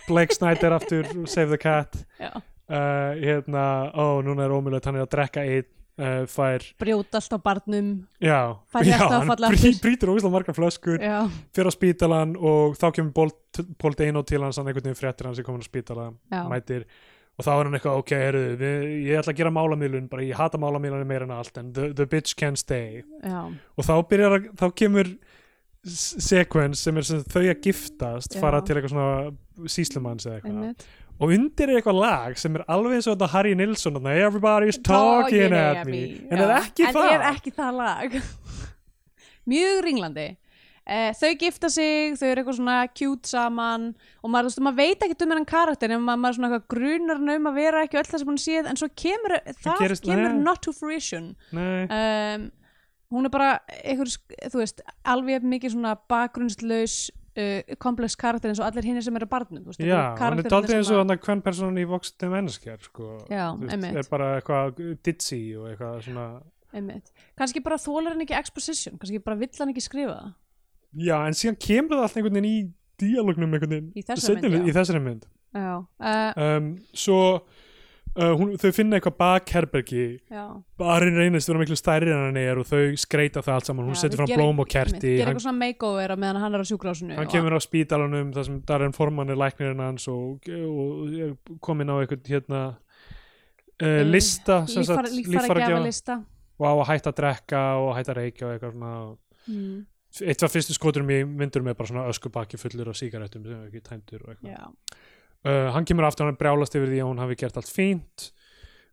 [SPEAKER 1] Blake Snyder aftur, Save the Cat
[SPEAKER 2] já,
[SPEAKER 1] uh, hérna, ó, núna er ómjöld hann er að drekka einn, uh, fær
[SPEAKER 2] brjóta allt á barnum
[SPEAKER 1] já,
[SPEAKER 2] Fær
[SPEAKER 1] já
[SPEAKER 2] hjartaáfall
[SPEAKER 1] hann
[SPEAKER 2] aftur.
[SPEAKER 1] brý- brýtur óvíslega margar flöskur
[SPEAKER 2] já,
[SPEAKER 1] fyrir á spítalan og þá kemur Bolt, Bolt Eino til hans hann einhvern veginn fréttir hans er komin á spítala
[SPEAKER 2] já,
[SPEAKER 1] mætir og þá er hann eitthvað ok, heru, við, ég ætla að gera málamiðlun bara ég hata málamiðlunni meira en allt en the, the bitch can stay
[SPEAKER 2] já,
[SPEAKER 1] og þá byrjar að, þá kemur s- sequence sem er sem þau að giftast
[SPEAKER 2] Já.
[SPEAKER 1] fara til eitthvað svona síslumanns eða eitthvað
[SPEAKER 2] einmitt
[SPEAKER 1] og undir er eitthvað lag sem er alveg eins og þetta Harry Nilsson þarna, everybody's talking at me en
[SPEAKER 2] Já.
[SPEAKER 1] er ekki
[SPEAKER 2] en
[SPEAKER 1] það
[SPEAKER 2] er ekki það lag <laughs> mjög ringlandi eh, þau gifta sig, þau eru eitthvað svona cute saman og maður, þú veist, maður veit ekki um hennan karakter en maður, maður svona eitthvað grunar hann um að vera ekki öll það sem hún séð en svo kemur, það
[SPEAKER 1] gerist-
[SPEAKER 2] kemur
[SPEAKER 1] nei.
[SPEAKER 2] not to fruition
[SPEAKER 1] Nei,
[SPEAKER 2] um, hún er bara einhver, sk- þú veist, alveg jafn mikið svona bakgrunnslaus uh, komplex karakter eins og allir hinir sem eru barnum þú veist,
[SPEAKER 1] já,
[SPEAKER 2] einhver
[SPEAKER 1] hann er
[SPEAKER 2] karakterarnir
[SPEAKER 1] daldið eins
[SPEAKER 2] sem
[SPEAKER 1] og
[SPEAKER 2] að-
[SPEAKER 1] hann að hvern personan í vokstum menneskjar sko,
[SPEAKER 2] Já,
[SPEAKER 1] Þú veist,
[SPEAKER 2] einmitt.
[SPEAKER 1] er bara eitthvað ditzy og eitthvað svona
[SPEAKER 2] einmitt. kannski bara þólar hann ekki exposition kannski bara vill hann ekki skrifa það
[SPEAKER 1] já, en síðan kemur það allt einhvern veginn í díalógnum einhvern veginn
[SPEAKER 2] Í þessari mynd,
[SPEAKER 1] seinni-
[SPEAKER 2] já.
[SPEAKER 1] í þessari mynd.
[SPEAKER 2] Já, uh,
[SPEAKER 1] Um, svo uh, hún, þau finna eitthvað bakherbergi
[SPEAKER 2] já.
[SPEAKER 1] barinn reynist vera miklu stærri en hann er og þau skreita það allt saman, hún
[SPEAKER 2] Já,
[SPEAKER 1] setur
[SPEAKER 2] þau
[SPEAKER 1] fram
[SPEAKER 2] gera-
[SPEAKER 1] blóm og
[SPEAKER 2] Einmitt,
[SPEAKER 1] kerti
[SPEAKER 2] Gera
[SPEAKER 1] hann,
[SPEAKER 2] eitthvað svona makeover á meðan hann er á sjúkrásinu
[SPEAKER 1] hann kemur á spítalunum þar sem Darren Forman er læknirinn hans og, og er komin á eitthvað hérna Uh,
[SPEAKER 2] Mm,
[SPEAKER 1] lista sem
[SPEAKER 2] líffara,
[SPEAKER 1] sagt,
[SPEAKER 2] líffara gefa lista
[SPEAKER 1] og á að hætta að drekka og að hætta að reykja og eitthvað svona
[SPEAKER 2] mm,
[SPEAKER 1] eitt af fyrstu skoturum í myndurum er bara svona öskubakki fullur af sígarettum sem er ekki tæmdur og eitthvað
[SPEAKER 2] Já,
[SPEAKER 1] uh, hann kemur aftur, hann er brjálast yfir því að hún hafi gert allt fínt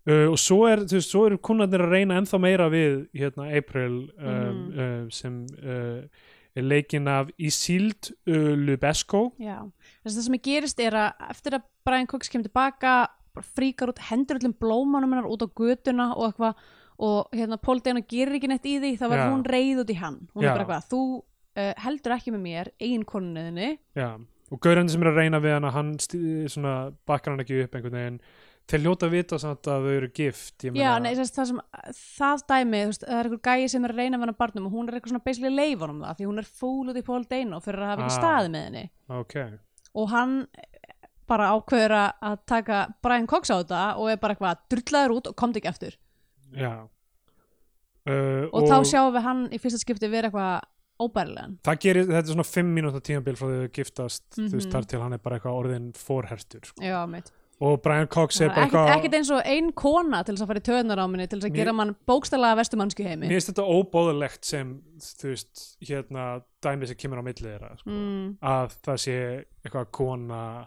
[SPEAKER 1] uh, og svo er þú veist, svo eru kunnarnir að reyna ennþá meira við hérna April um,
[SPEAKER 2] Mhm.
[SPEAKER 1] uh, sem uh, er leikin af Isild uh, Lubesco
[SPEAKER 2] já. Þess að það sem gerist er að eftir að Brian Cox kemur tilbaka bara fríkar út, hendur öllum blómanum hennar út á götuna og eitthvað og hérna Paul Dano gerir ekki neitt í því þá
[SPEAKER 1] Já.
[SPEAKER 2] verður hún reið út í hann hún
[SPEAKER 1] Já.
[SPEAKER 2] er bara eitthvað, þú uh, heldur ekki með mér eigin konunniðinni
[SPEAKER 1] Já, og gaurinn sem er að reyna við hana hann stið, svona, bakkar hann ekki upp einhvern veginn til hljóta að vita samt að þau eru gift ég
[SPEAKER 2] Já,
[SPEAKER 1] meina-
[SPEAKER 2] nei, þess, það sem það dæmi, þú veist, það er einhver gæi sem er að reyna með hann barnum og hún er eitthvað svona basically leifan um það því hún er fúl út í Paul Dano fyrir að hafa ekki
[SPEAKER 1] Ah.
[SPEAKER 2] staðið með henni
[SPEAKER 1] ok,
[SPEAKER 2] og hann bara ákveður að- að taka Brian Cox á þetta og er bara eitthvað drullaður út og komd ekki aftur
[SPEAKER 1] já uh,
[SPEAKER 2] og, þá sjáum við hann í fyrsta skipti vera eitthvað óbærilegan
[SPEAKER 1] það gerir, þetta er svona 5 mínúta tímabil frá því þau giftast þú veist,
[SPEAKER 2] Mhm.
[SPEAKER 1] þar til hann er bara eitthvað orðin forhertur sko.
[SPEAKER 2] Já, mitt
[SPEAKER 1] og Brian Cox er bara
[SPEAKER 2] ekkert, ekkert um eins og ein kona til þess að fara í töðunar á minni til þess að
[SPEAKER 1] Mér-
[SPEAKER 2] gera mann bókstælega vestumannsku heimi
[SPEAKER 1] mér finnst þetta óbóðulegt sem þú veist, hérna dæmið sem kemur á milli þeirra sko.
[SPEAKER 2] mm,
[SPEAKER 1] að það sé eitthvað kona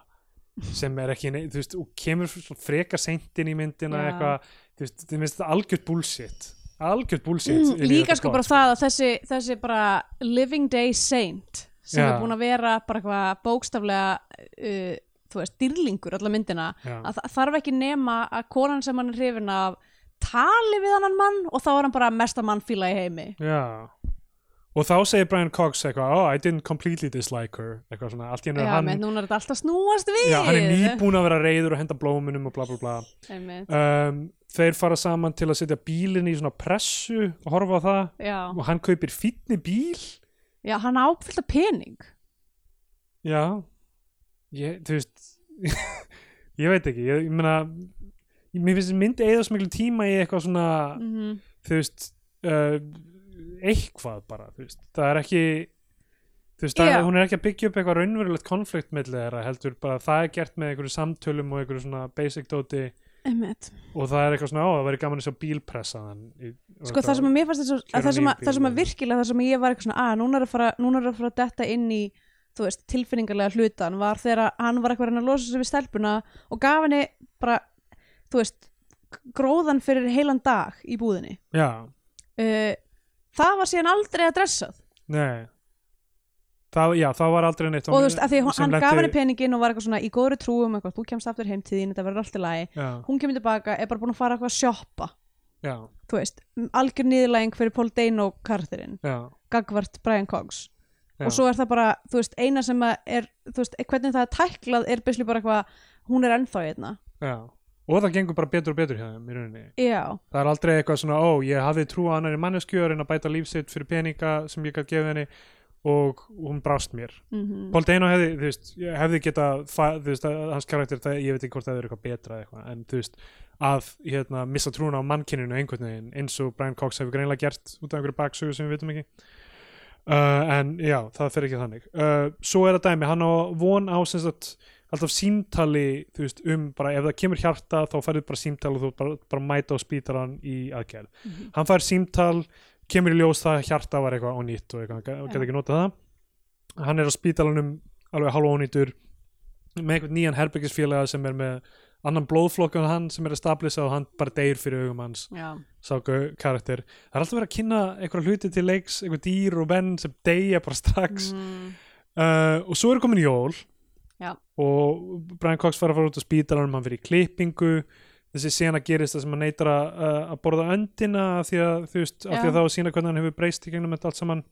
[SPEAKER 1] sem er ekki, nei- þú veist, og kemur svona frekar seint inn í myndina
[SPEAKER 2] Já.
[SPEAKER 1] eitthvað, þú veist, þú veist þetta algjört bullshit algjört bullshit
[SPEAKER 2] Mm,
[SPEAKER 1] inn í
[SPEAKER 2] líka
[SPEAKER 1] þetta
[SPEAKER 2] sko
[SPEAKER 1] plot,
[SPEAKER 2] bara það að þessi, þessi bara living day saint sem
[SPEAKER 1] Já.
[SPEAKER 2] er búin að vera bara eitthvað bókstaflega uh, þú veist, dýrlingur alla myndina
[SPEAKER 1] Já.
[SPEAKER 2] að það þarf ekki nema að konan sem hann er hrifin af tali við annan mann og þá er hann bara mesta mannfíla í heimi
[SPEAKER 1] Já Og þá segir Brian Cox eitthvað Oh, I didn't completely dislike her eitthvað svona, allt í hennu
[SPEAKER 2] Já,
[SPEAKER 1] hann
[SPEAKER 2] menn núna er þetta alltaf snúast við
[SPEAKER 1] Já, hann er nýbúin að vera reyður og henda blómunum og bla bla bla
[SPEAKER 2] Einmitt.
[SPEAKER 1] um, Þeir fara saman til að setja bílinn í svona pressu og horfa á það
[SPEAKER 2] Já.
[SPEAKER 1] og hann kaupir fínni bíl
[SPEAKER 2] Já, hann áfyllt af pening
[SPEAKER 1] Já ég, Þú veist <laughs> Ég veit ekki, ég, ég meina Mér finnst myndi eða smiklu tíma í eitthvað svona
[SPEAKER 2] mm
[SPEAKER 1] þú veist uh, eitthvað bara þú veist. það er ekki þú veist,
[SPEAKER 2] Já.
[SPEAKER 1] yeah. hún er ekki að byggja upp eitthvað raunverulegt konflikt milli þeirra heldur bara það er gert með einhverju samtölum og einhverju svona basic dóti
[SPEAKER 2] Einmitt.
[SPEAKER 1] og það er eitthvað svona á það væri gaman að sjá bílpressaðan
[SPEAKER 2] Sko það sem að mér fannst þess að það sem að, það sem að
[SPEAKER 1] Keanu Reeves.
[SPEAKER 2] virkilega það sem að ég var eitthvað svona að núna er að fara, núna er að fara að detta inn í þú veist, tilfinningarlega hlutan var þegar að hann var eitthvað að reyna að losa sig við stelpuna og gaf henni bara þú veist, gróðan fyrir heilan dag í búðinni
[SPEAKER 1] já,
[SPEAKER 2] uh, það var síðan aldrei að dressað
[SPEAKER 1] nei það, já, það var aldrei neitt
[SPEAKER 2] og þú veist, að því að hún- hann gaf henni peningin og var eitthvað svona í góðri trúum eitthvað, þú kemst aftur heim til þín, þetta verður allt í lagi
[SPEAKER 1] já,
[SPEAKER 2] hún kemur tilbaka, er bara búin að fara eitthvað að sjoppa
[SPEAKER 1] já,
[SPEAKER 2] þú veist, algjör niðurlæging fyrir Paul Dano kartirinn,
[SPEAKER 1] já,
[SPEAKER 2] gagvart Brian Cox
[SPEAKER 1] já.
[SPEAKER 2] og svo er það bara, þú veist, eina sem að er, þú veist, hvernig það er tæklað er byrjuslega bara eitthvað, hún er ennþá hérna
[SPEAKER 1] já. og það gengur bara betur og betur hjá þeim í rauninni
[SPEAKER 2] já,
[SPEAKER 1] það er aldrei eitthvað svona, ó, ég hafði trú á annari mannesku að reyna að bæta lífsitt fyrir peninga sem ég gætt gefið henni og hún brást mér.
[SPEAKER 2] mm
[SPEAKER 1] Paul Dano hefði, þú veist, hefði geta, þú veist, að- hans karakter, það, ég veit ekki hvort það er eitthvað betra eða eitthvað, en þú veist, að hérna, missa trúna á mannkyninu einhvern veginn eins og Brian Cox hefur greinlega gert út af einhverju baksögu sem við vitum ekki. Uh, en já, það fer ekki þannig. Uh, svo er það dæmi, hann á von á sem sagt alltaf símtali, þú veist, um bara ef það kemur hjarta þá færðu bara símtali og þú bara, bara mæta á spítaran í aðgerð hann fær símtal kemur í ljós það að hjarta var eitthvað ónýtt og eitthvað, hann gæti
[SPEAKER 2] Já.
[SPEAKER 1] ekki notað það hann er á spítalanum alveg halva ónýtur með einhvern nýjan herbergisfélaga sem er með annan blóðflokk en hann sem er að stablisa og hann bara deyr fyrir augum hans
[SPEAKER 2] já,
[SPEAKER 1] sá gau- karakter það er alltaf verið að kynna einhverja hluti til leiks einhver dýr og menn sem deyja bara strax
[SPEAKER 2] mm,
[SPEAKER 1] uh, og svo er komin jól
[SPEAKER 2] Já.
[SPEAKER 1] og Brian Cox fara að fara út á spítalanum hann fyrir í klippingu þessi sena gerist það sem hann neytar að, að- að borða öndina af því að, þú veist, af því að
[SPEAKER 2] Já.
[SPEAKER 1] þá sína hvernig hann hefur breyst í gegnum þetta allt saman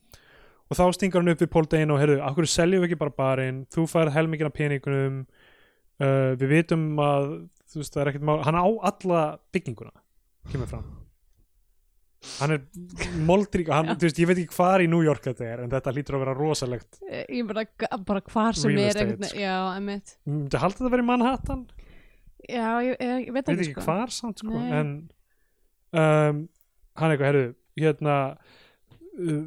[SPEAKER 1] og þá stingar hann upp við Paul Dano og heyrðu, af hverju seljum við ekki bara barinn þú færð helmingina peningunum uh, við vitum að þú veist, það er ekkert mál, hann á alla bygginguna kemur fram hann er moldrík hann,
[SPEAKER 2] Já.
[SPEAKER 1] þú veist, ég veit ekki hvar í New York þetta er en þetta hlýtur að vera rosalegt
[SPEAKER 2] Eh, ég bara, bara hvar sem
[SPEAKER 1] Real
[SPEAKER 2] er
[SPEAKER 1] estate,
[SPEAKER 2] einhvern,
[SPEAKER 1] sko.
[SPEAKER 2] já, emmitt
[SPEAKER 1] Ég myndi halda þetta að vera í Manhattan
[SPEAKER 2] já, ég, ég, ég veit
[SPEAKER 1] veit
[SPEAKER 2] ekki,
[SPEAKER 1] ekki
[SPEAKER 2] sko
[SPEAKER 1] hvar samt sko
[SPEAKER 2] Nei.
[SPEAKER 1] en um, hann eitthvað, herru hérna uh,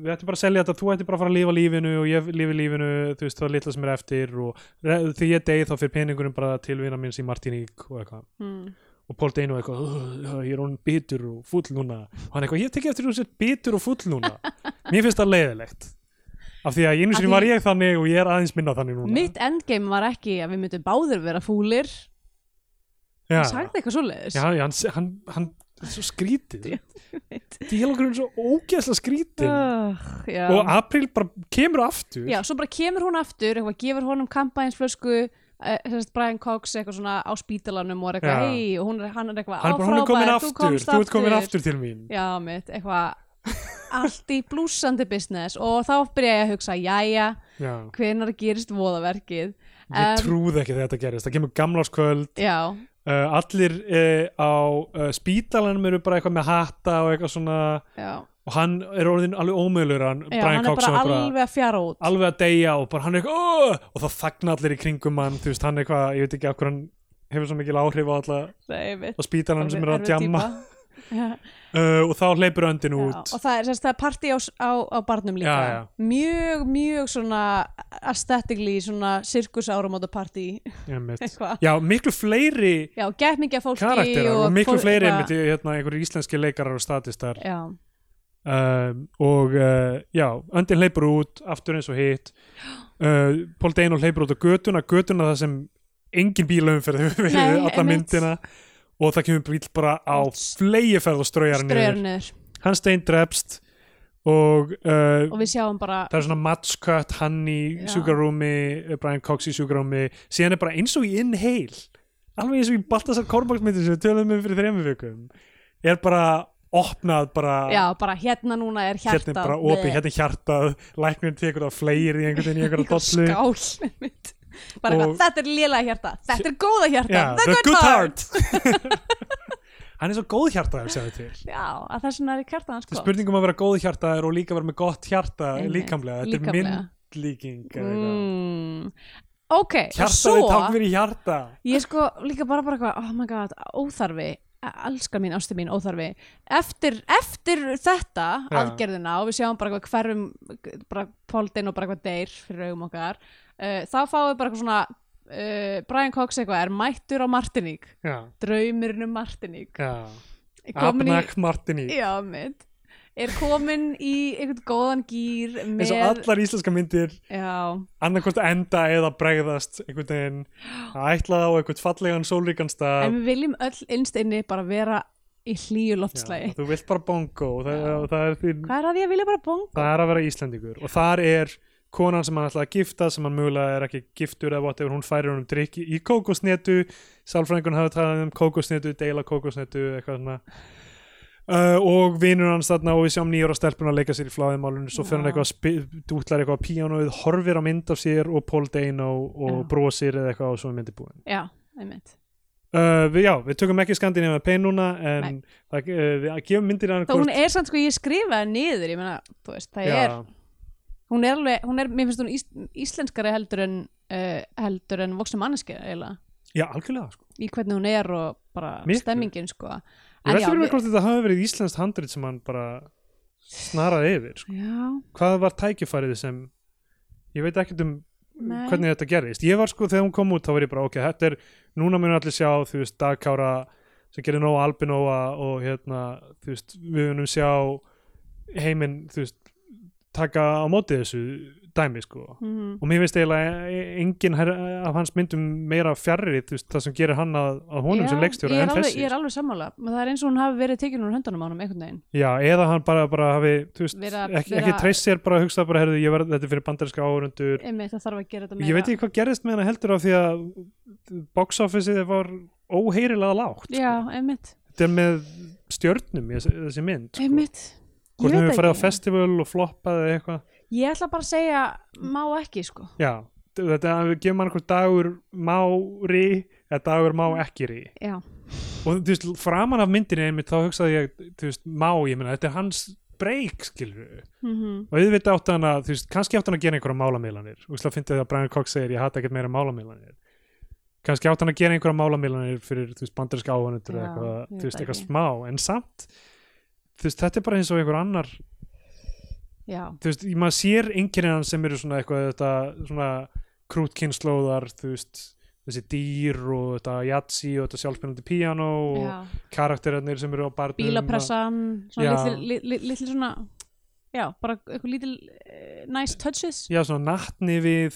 [SPEAKER 1] við ættum bara að selja þetta, þú ættum bara að fara að lifa lífinu og ég lifi lífinu, þú veist það er litla sem er eftir og re- því ég degi þá fyrir peningurinn bara til vina mín í Martiník og eitthvað,
[SPEAKER 2] mm.
[SPEAKER 1] og Paul Dano eitthvað "Ugh, ég er hún bitur og fúll núna og hann eitthvað, ég tekja eftir hún sér bitur og fúll
[SPEAKER 2] <laughs>
[SPEAKER 1] núna mér finnst það leiðilegt af því að einu
[SPEAKER 2] Af
[SPEAKER 1] sinni
[SPEAKER 2] því-
[SPEAKER 1] var ég þannig og ég er aðeins minna þannig núna
[SPEAKER 2] mitt endgame var ekki að við myndum báður vera fúlir
[SPEAKER 1] Já.
[SPEAKER 2] ég sagði eitthvað svoleiðis
[SPEAKER 1] Já, já, hann, hann, hann er svo skrítið
[SPEAKER 2] veit.
[SPEAKER 1] Díalókurinn er svo ógeðslega skrítið
[SPEAKER 2] Ugh, já.
[SPEAKER 1] og April bara kemur aftur
[SPEAKER 2] já, svo bara kemur hún aftur eitthvað, gefur honum kampaðinsflösku uh, Brian Cox eitthvað svona á spítalanum og er eitthvað,
[SPEAKER 1] Já.
[SPEAKER 2] hei, og hún er, hann er eitthvað
[SPEAKER 1] hann er
[SPEAKER 2] "Á,
[SPEAKER 1] bara, hún er komin
[SPEAKER 2] frábær,
[SPEAKER 1] aftur, þú,
[SPEAKER 2] komst
[SPEAKER 1] ert komin aftur til mín
[SPEAKER 2] já, mitt, eitthvað <laughs> allt í blúsandi business og þá byrja ég að hugsa, jæja
[SPEAKER 1] já.
[SPEAKER 2] hvenar gerist voðaverkið
[SPEAKER 1] ég
[SPEAKER 2] Em,
[SPEAKER 1] trúði ekki að þetta gerist, það kemur gamlarskvöld
[SPEAKER 2] já,
[SPEAKER 1] uh, allir uh, á uh, spítalanum eru bara eitthvað með hatta og eitthvað svona
[SPEAKER 2] já,
[SPEAKER 1] og hann er orðin alveg ómögulegur hann,
[SPEAKER 2] já
[SPEAKER 1] Brian
[SPEAKER 2] hann er
[SPEAKER 1] Cox
[SPEAKER 2] bara
[SPEAKER 1] hann er
[SPEAKER 2] alveg að fjara út
[SPEAKER 1] alveg að deyja og bara hann er eitthvað "Åh!" og það þagna allir í kringum hann þú veist, hann er eitthvað, ég veit ekki af hverju hann hefur svo mikil áhrif á alla
[SPEAKER 2] Nei, einmitt.
[SPEAKER 1] á spítalanum sem er að
[SPEAKER 2] Erfið
[SPEAKER 1] djamma
[SPEAKER 2] týpa.
[SPEAKER 1] uh, og þá hleypur öndin <laughs>
[SPEAKER 2] Já,
[SPEAKER 1] út
[SPEAKER 2] og það er, sérst, það er partí á, s- á, á barnum líka
[SPEAKER 1] Já, já.
[SPEAKER 2] mjög, mjög svona aesthetically svona sirkus áramóta partí
[SPEAKER 1] einmitt.
[SPEAKER 2] <laughs> eitthvað
[SPEAKER 1] já, miklu fleiri
[SPEAKER 2] já, gett mikið af fólki
[SPEAKER 1] karakterar og, miklu
[SPEAKER 2] fólk-
[SPEAKER 1] fleiri
[SPEAKER 2] eitthvað-
[SPEAKER 1] einmitt, í, hérna, einhverjir íslenski leikarar og statistar
[SPEAKER 2] já,
[SPEAKER 1] um, og uh, já, öndin hleypur út aftur eins og
[SPEAKER 2] <gasps>
[SPEAKER 1] hitt uh, Pól Deino hleypur út á götuna götuna það sem engin bílaumferð hefur
[SPEAKER 2] Nei,
[SPEAKER 1] verið <laughs> alla
[SPEAKER 2] einmitt.
[SPEAKER 1] myndina og það kemur bíl bara á
[SPEAKER 2] Út.
[SPEAKER 1] flegiferð og straujar
[SPEAKER 2] ströður
[SPEAKER 1] niður
[SPEAKER 2] niður
[SPEAKER 1] hann stein drefst og uh,
[SPEAKER 2] og við sjáum bara
[SPEAKER 1] það er svona matchcut hann í
[SPEAKER 2] Já.
[SPEAKER 1] sjúkarúmi, eh, Brian Cox í sjúkarúmi síðan er bara eins og í inhale alveg eins og í Baltasar Korbaksmyndin sem við tölum um fyrir þremur vikum er bara opnað bara
[SPEAKER 2] já, bara hérna núna er
[SPEAKER 1] hérna
[SPEAKER 2] hjartað
[SPEAKER 1] er bara opið, hérna er hjartað læknirinn tekur það fleir í einhvern veginn í einhverja dollu
[SPEAKER 2] skál einmitt. bara
[SPEAKER 1] Og-
[SPEAKER 2] eitthvað, þetta er lélega hjarta þetta er góða hjarta,
[SPEAKER 1] Já, the good heart <laughs> hann er svo góð hjartaður sem við til
[SPEAKER 2] já, að það er svona er hjarta hans
[SPEAKER 1] Þetta er
[SPEAKER 2] gott
[SPEAKER 1] spurning um að vera góð hjartaður og líka vera með gott hjarta
[SPEAKER 2] Einmitt,
[SPEAKER 1] líkamlega, þetta
[SPEAKER 2] líkamlega.
[SPEAKER 1] er myndlíking mm.
[SPEAKER 2] mm. ok, og
[SPEAKER 1] hjartaði
[SPEAKER 2] svo
[SPEAKER 1] takk fyrir hjarta
[SPEAKER 2] Ég sko líka bara bara eitthvað, oh my god, óþarfi, elskar mín, ástu mín, óþarfi. Eftir, eftir þetta
[SPEAKER 1] Já.
[SPEAKER 2] aðgerðina og við sjáum bara eitthvað hverjum, bara póldin og bara eitthvað deyr fyrir augum okkar, uh, þá fáum við bara eitthvað svona, uh, Brian Cox eitthvað er mættur á Martiník,
[SPEAKER 1] já,
[SPEAKER 2] draumurinn um Martiník.
[SPEAKER 1] já
[SPEAKER 2] Komin í-
[SPEAKER 1] Abnak Martiník
[SPEAKER 2] Já, mitt. Er komin í einhvern góðan gýr
[SPEAKER 1] eins
[SPEAKER 2] með...
[SPEAKER 1] og allar íslenska myndir
[SPEAKER 2] Já,
[SPEAKER 1] annarkvort enda eða bregðast einhvern veginn að ætla á einhvern fallegan sólríkan stað
[SPEAKER 2] en við viljum öll innst inni bara vera í hlýju
[SPEAKER 1] Já,
[SPEAKER 2] loftslægi.
[SPEAKER 1] þú vilt bara bongo og það, og það, er þín,
[SPEAKER 2] Hvað er að því að vilja bara bonga?
[SPEAKER 1] það er að vera Íslendingur og þar er konan sem hann ætlaði að gifta sem hann mögulega er ekki giftur eða whatever hún færir honum drikki í kókosnetu sálfræðingun hafi talað um kókosnetu deila kókosnetu eitthvað svona Uh, og vinur hans þarna og við sjáum nýjur á stelpun að leika sér í fláðimálunum svo fyrir hann
[SPEAKER 2] Já.
[SPEAKER 1] eitthvað að spi- dútlar eitthvað á píanóið horfir á mynd af sér og Paul Dano og
[SPEAKER 2] Já.
[SPEAKER 1] brosir eða eitthvað og svo er myndi búin
[SPEAKER 2] Já, einmitt.
[SPEAKER 1] uh, við, já, við tökum ekki skandinæma pein núna en það, uh, við gefum myndir hann
[SPEAKER 2] Það hún er samt sko, ég skrifaði niður, ég meina, þú veist, það er, hún er alveg, hún er, mér finnst hún ís, íslenskari heldur en, uh, heldur en voksna manneski eiginlega,
[SPEAKER 1] já, algjörlega sko
[SPEAKER 2] í hvernig hún er og bara
[SPEAKER 1] Miklu.
[SPEAKER 2] stemmingin sko.
[SPEAKER 1] Ég
[SPEAKER 2] En
[SPEAKER 1] veldi
[SPEAKER 2] já,
[SPEAKER 1] fyrir mig
[SPEAKER 2] við-
[SPEAKER 1] hvort þetta hafi verið íslenskt handrit sem hann bara snaraði yfir. Sko.
[SPEAKER 2] já,
[SPEAKER 1] Hvað var tækifærið sem, ég veit ekkert um
[SPEAKER 2] Nei.
[SPEAKER 1] hvernig þetta gerðist. Ég var sko, þegar hún kom út þá var ég bara, ok, þetta er, núna munum allir sjá, þú veist, Dagkára sem gerir nóg albinóa og hérna, þú veist, við munum sjá heiminn, þú veist, taka á móti þessu dæmi, sko.
[SPEAKER 2] mhm,
[SPEAKER 1] Og mér finnst eiginlega e- engin her- af hans myndum meira fjarrrið, þú veist, það sem gerir hann að, að honum
[SPEAKER 2] já,
[SPEAKER 1] sem leikstjóra
[SPEAKER 2] ég er
[SPEAKER 1] en
[SPEAKER 2] alveg-
[SPEAKER 1] þessi.
[SPEAKER 2] Ég er alveg sammála, Men það er eins og hún hafi verið tekinn úr höndunum á hann einhvern veginn.
[SPEAKER 1] Já, eða hann bara, bara hafi, þú veist,
[SPEAKER 2] Vera-
[SPEAKER 1] ekki,
[SPEAKER 2] vera-
[SPEAKER 1] ekki treyst sér bara að hugsa bara, herðu, ég verð, þetta er fyrir bandarinska áhörundur.
[SPEAKER 2] Einmitt, það þarf að gera þetta meira.
[SPEAKER 1] Ég veit ekki hvað gerðist með hana heldur af því að box officeið var óheyrilega lágt. sko.
[SPEAKER 2] Já, einmitt,
[SPEAKER 1] Þetta er með stjörnum, í þessi, þessi mynd. sko.
[SPEAKER 2] einmitt. Ég
[SPEAKER 1] Hvort
[SPEAKER 2] veit
[SPEAKER 1] hún hefur farið á
[SPEAKER 2] ekki.
[SPEAKER 1] festival og floppað eða eitthvað.
[SPEAKER 2] Ég ætla bara að segja, má ekki sko.
[SPEAKER 1] Já, þetta er að við gefum hann einhver dagur má rí eða dagur má ekki rí.
[SPEAKER 2] Já,
[SPEAKER 1] Og þú veist, framan af myndinni einmitt þá hugsaði ég, þú veist, má, ég meina, þetta er hans break, skilur
[SPEAKER 2] mhm,
[SPEAKER 1] og auðvitað átt hann að, þú veist, kannski átt hann að gera einhverja málamiðlanir, og slá fyndið að Brian Cox segir ég hata ekkert meira málamiðlanir kannski átt hann að gera einhverja málamiðlanir fyrir, þú veist, bandarinska áhvernundur eða
[SPEAKER 2] Já,
[SPEAKER 1] eitthvað, þú
[SPEAKER 2] ég
[SPEAKER 1] veist,
[SPEAKER 2] veit
[SPEAKER 1] eitthvað
[SPEAKER 2] ekki.
[SPEAKER 1] smá en samt, þú veist, þetta er bara eins og einhver annar,
[SPEAKER 2] já.
[SPEAKER 1] þú veist, ég- maður sér enginn hann sem eru svona eitthvað, þetta, svona krútkinnslóðar, þú veist þessi dýr og þetta jatsi og þetta sjálfspennandi píanó og
[SPEAKER 2] já.
[SPEAKER 1] karakterinir sem eru á barnum
[SPEAKER 2] bílapressan svona
[SPEAKER 1] Já.
[SPEAKER 2] litli, litli, litli svona já, bara eitthvað lítil uh, nice touches
[SPEAKER 1] já, svona nattni við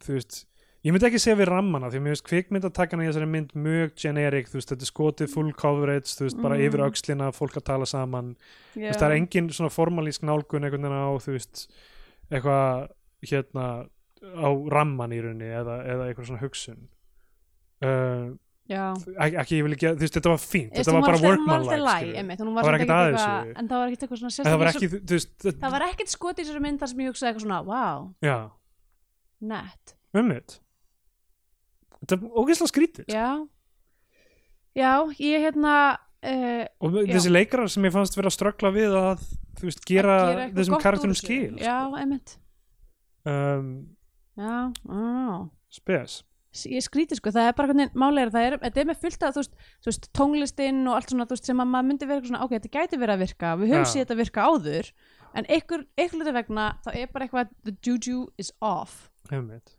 [SPEAKER 1] þú veist, ég myndi ekki segja við rammana því að mér veist kvikmyndatakana í þessari mynd mjög generic, þú veist, þetta er skotið full coverage þú veist, bara
[SPEAKER 2] Mhm.
[SPEAKER 1] yfir öxlina, fólk að tala saman þú
[SPEAKER 2] já.
[SPEAKER 1] veist, það er engin svona formalísk nálgun einhvern veginn á, þú veist eitthvað, hérna á ramman í rauninni eða, eða eitthvað svona hugsun uh,
[SPEAKER 2] já.
[SPEAKER 1] ek- ekki, ég vil ekki, þú veist, þetta var fínt
[SPEAKER 2] Þú veist,
[SPEAKER 1] þetta
[SPEAKER 2] hún
[SPEAKER 1] var bara
[SPEAKER 2] alltaf- hún var
[SPEAKER 1] workman
[SPEAKER 2] alltaf læg,
[SPEAKER 1] like
[SPEAKER 2] einmitt, hún
[SPEAKER 1] Það var
[SPEAKER 2] samt
[SPEAKER 1] ekkert
[SPEAKER 2] ekkert
[SPEAKER 1] að
[SPEAKER 2] eitthvað-
[SPEAKER 1] þessu.
[SPEAKER 2] en það var ekkert eitthvað svona
[SPEAKER 1] en það var
[SPEAKER 2] sérstaklega
[SPEAKER 1] ekki, þú veist,
[SPEAKER 2] það
[SPEAKER 1] þetta-
[SPEAKER 2] var ekkert skot í þessari mynd þar sem ég hugsaði eitthvað svona wow,
[SPEAKER 1] já,
[SPEAKER 2] nett
[SPEAKER 1] ummitt þetta er ógeðslega skrítið
[SPEAKER 2] já, já ég hérna uh,
[SPEAKER 1] og
[SPEAKER 2] Já.
[SPEAKER 1] þessi leikarar sem ég fannst vera að ströggla við að þú veist, gera,
[SPEAKER 2] að eitthvað
[SPEAKER 1] þessum
[SPEAKER 2] gott úr
[SPEAKER 1] karakterum
[SPEAKER 2] þessu.
[SPEAKER 1] skil sko.
[SPEAKER 2] já, einmitt
[SPEAKER 1] um,
[SPEAKER 2] já, á,
[SPEAKER 1] spes
[SPEAKER 2] ég skríti sko, það er bara hvernig málega það er, þetta er með fullt af þú veist, þú veist, tónlistin og allt svona þú veist, sem að maður myndi vera eitthvað svona, ok, þetta gæti verið að virka við höfum
[SPEAKER 1] Já.
[SPEAKER 2] séð þetta virka áður en einhver, einhver hluta vegna, þá er bara eitthvað the juju is off
[SPEAKER 1] einmitt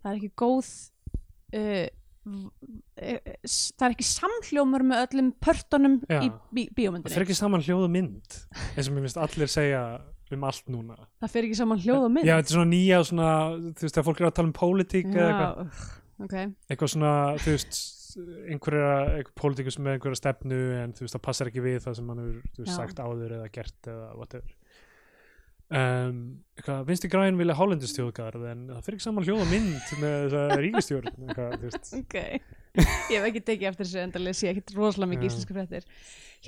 [SPEAKER 2] það er ekki góð uh, v- eh, eh, s- það er ekki samhljómur með öllum pörtunum
[SPEAKER 1] Já.
[SPEAKER 2] í bí
[SPEAKER 1] það
[SPEAKER 2] bíómyndinni
[SPEAKER 1] fer ekki saman hljóð og mynd eins og mér finnst allir segja um allt núna
[SPEAKER 2] það fer ekki saman hljóð og mynd
[SPEAKER 1] já, þetta er svona nýja svona, þú veist, þegar fólk er að tala um pólitík eða eitthvað
[SPEAKER 2] Já, ugh, ok
[SPEAKER 1] eitthvað svona, þú veist einhverja, einhver pólitíkus með einhverja stefnu en þú veist, það passar ekki við það sem hann hefur þú veist,
[SPEAKER 2] Já.
[SPEAKER 1] sagt áður eða gert eða whatever um, eitthvað, vinstri græn vilja hálendustjóðgarð en það fyrir ekki saman hljóð og mynd með þessa ríkistjórn eitthvað, þú
[SPEAKER 2] <laughs>
[SPEAKER 1] veist,
[SPEAKER 2] ok ég hef ekki tekið eftir þessu endalega sé ekkert rosalega mikið
[SPEAKER 1] Já.
[SPEAKER 2] íslenska fréttir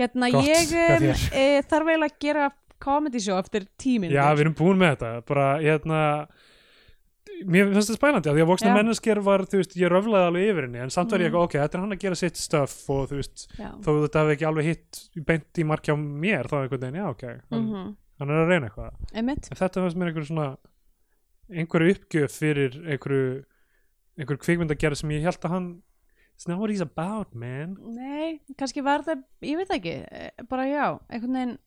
[SPEAKER 2] hérna
[SPEAKER 1] Gott,
[SPEAKER 2] ég
[SPEAKER 1] hjá
[SPEAKER 2] um, e, þarf eiginlega að gera comedy show eftir tíminn
[SPEAKER 1] já, við erum búin með þetta bara, hérna mér finnst þetta spælandi, af því að voksna
[SPEAKER 2] Já.
[SPEAKER 1] mennesker var, þú veist, ég röflaði alveg yfir henni en samt var ég
[SPEAKER 2] Mm.
[SPEAKER 1] eitthvað, ok, þetta er hann að gera sitt stöf og þú veist,
[SPEAKER 2] já.
[SPEAKER 1] þó þetta hafi ekki alveg hitt beint í markja á mér, þá einhvern veginn, já, ok hann,
[SPEAKER 2] Mm -hmm.
[SPEAKER 1] hann er að reyna eitthvað
[SPEAKER 2] einmitt,
[SPEAKER 1] en þetta fannst mér einhver svona einhverju uppgjöf fyrir einhverju einhverju kvikmyndagerð sem ég held að hann it's not what he's about man
[SPEAKER 2] nei, kannski var það ég veit það ekki, eh, bara já einhvern veginn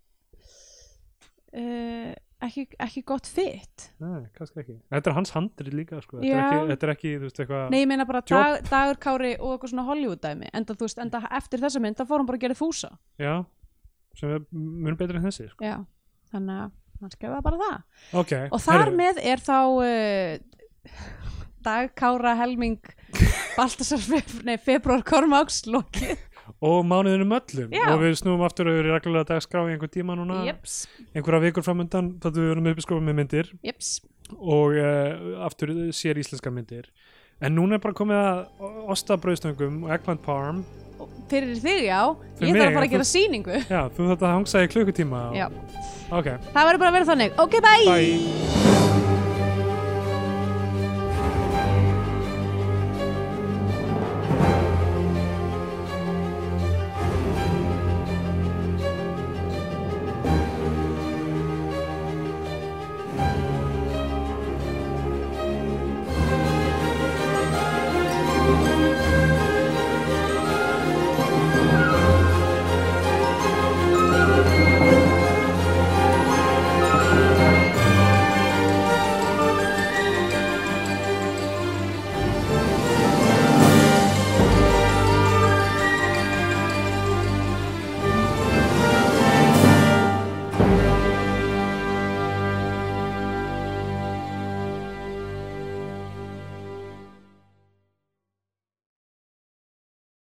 [SPEAKER 2] uh, ekki, ekki gott fit
[SPEAKER 1] Nei, kannski ekki þetta er hans handrið líka sko. þetta, er
[SPEAKER 2] Já.
[SPEAKER 1] ekki, þetta er ekki, þú veist, eitthvað
[SPEAKER 2] nei, ég meina bara
[SPEAKER 1] Job.
[SPEAKER 2] dag, dagur kári og eitthvað svona Hollywood dæmi, enda þú veist, enda eftir þessa mynd þá fór hann bara að gera fúsa
[SPEAKER 1] já, sem er mun betur en þessi sko.
[SPEAKER 2] já, þannig að hann skrifa bara það
[SPEAKER 1] ok,
[SPEAKER 2] og þar
[SPEAKER 1] heyrðu,
[SPEAKER 2] með er þá uh, dagkára helming Baltasar feb nei, februar kormáks lokið
[SPEAKER 1] og mánuðinum öllum
[SPEAKER 2] Já.
[SPEAKER 1] og við snúum aftur og við erum reglulega dagskrá í einhver tíma núna
[SPEAKER 2] jeps,
[SPEAKER 1] einhverja vikur framöndan þá við erum uppskofað með myndir
[SPEAKER 2] jeps
[SPEAKER 1] og uh, aftur sér íslenska myndir en núna er bara komið að ostabrauðstöngum og eggplant parm
[SPEAKER 2] Og fyrir þig já,
[SPEAKER 1] Fyrir
[SPEAKER 2] ég
[SPEAKER 1] mig,
[SPEAKER 2] þarf að fara
[SPEAKER 1] þú-
[SPEAKER 2] að gera sýningu
[SPEAKER 1] Já, þú þarft að hangsa í klukkutíma og-
[SPEAKER 2] já,
[SPEAKER 1] Ok,
[SPEAKER 2] það verður bara að vera þannig ok, bye.
[SPEAKER 1] bye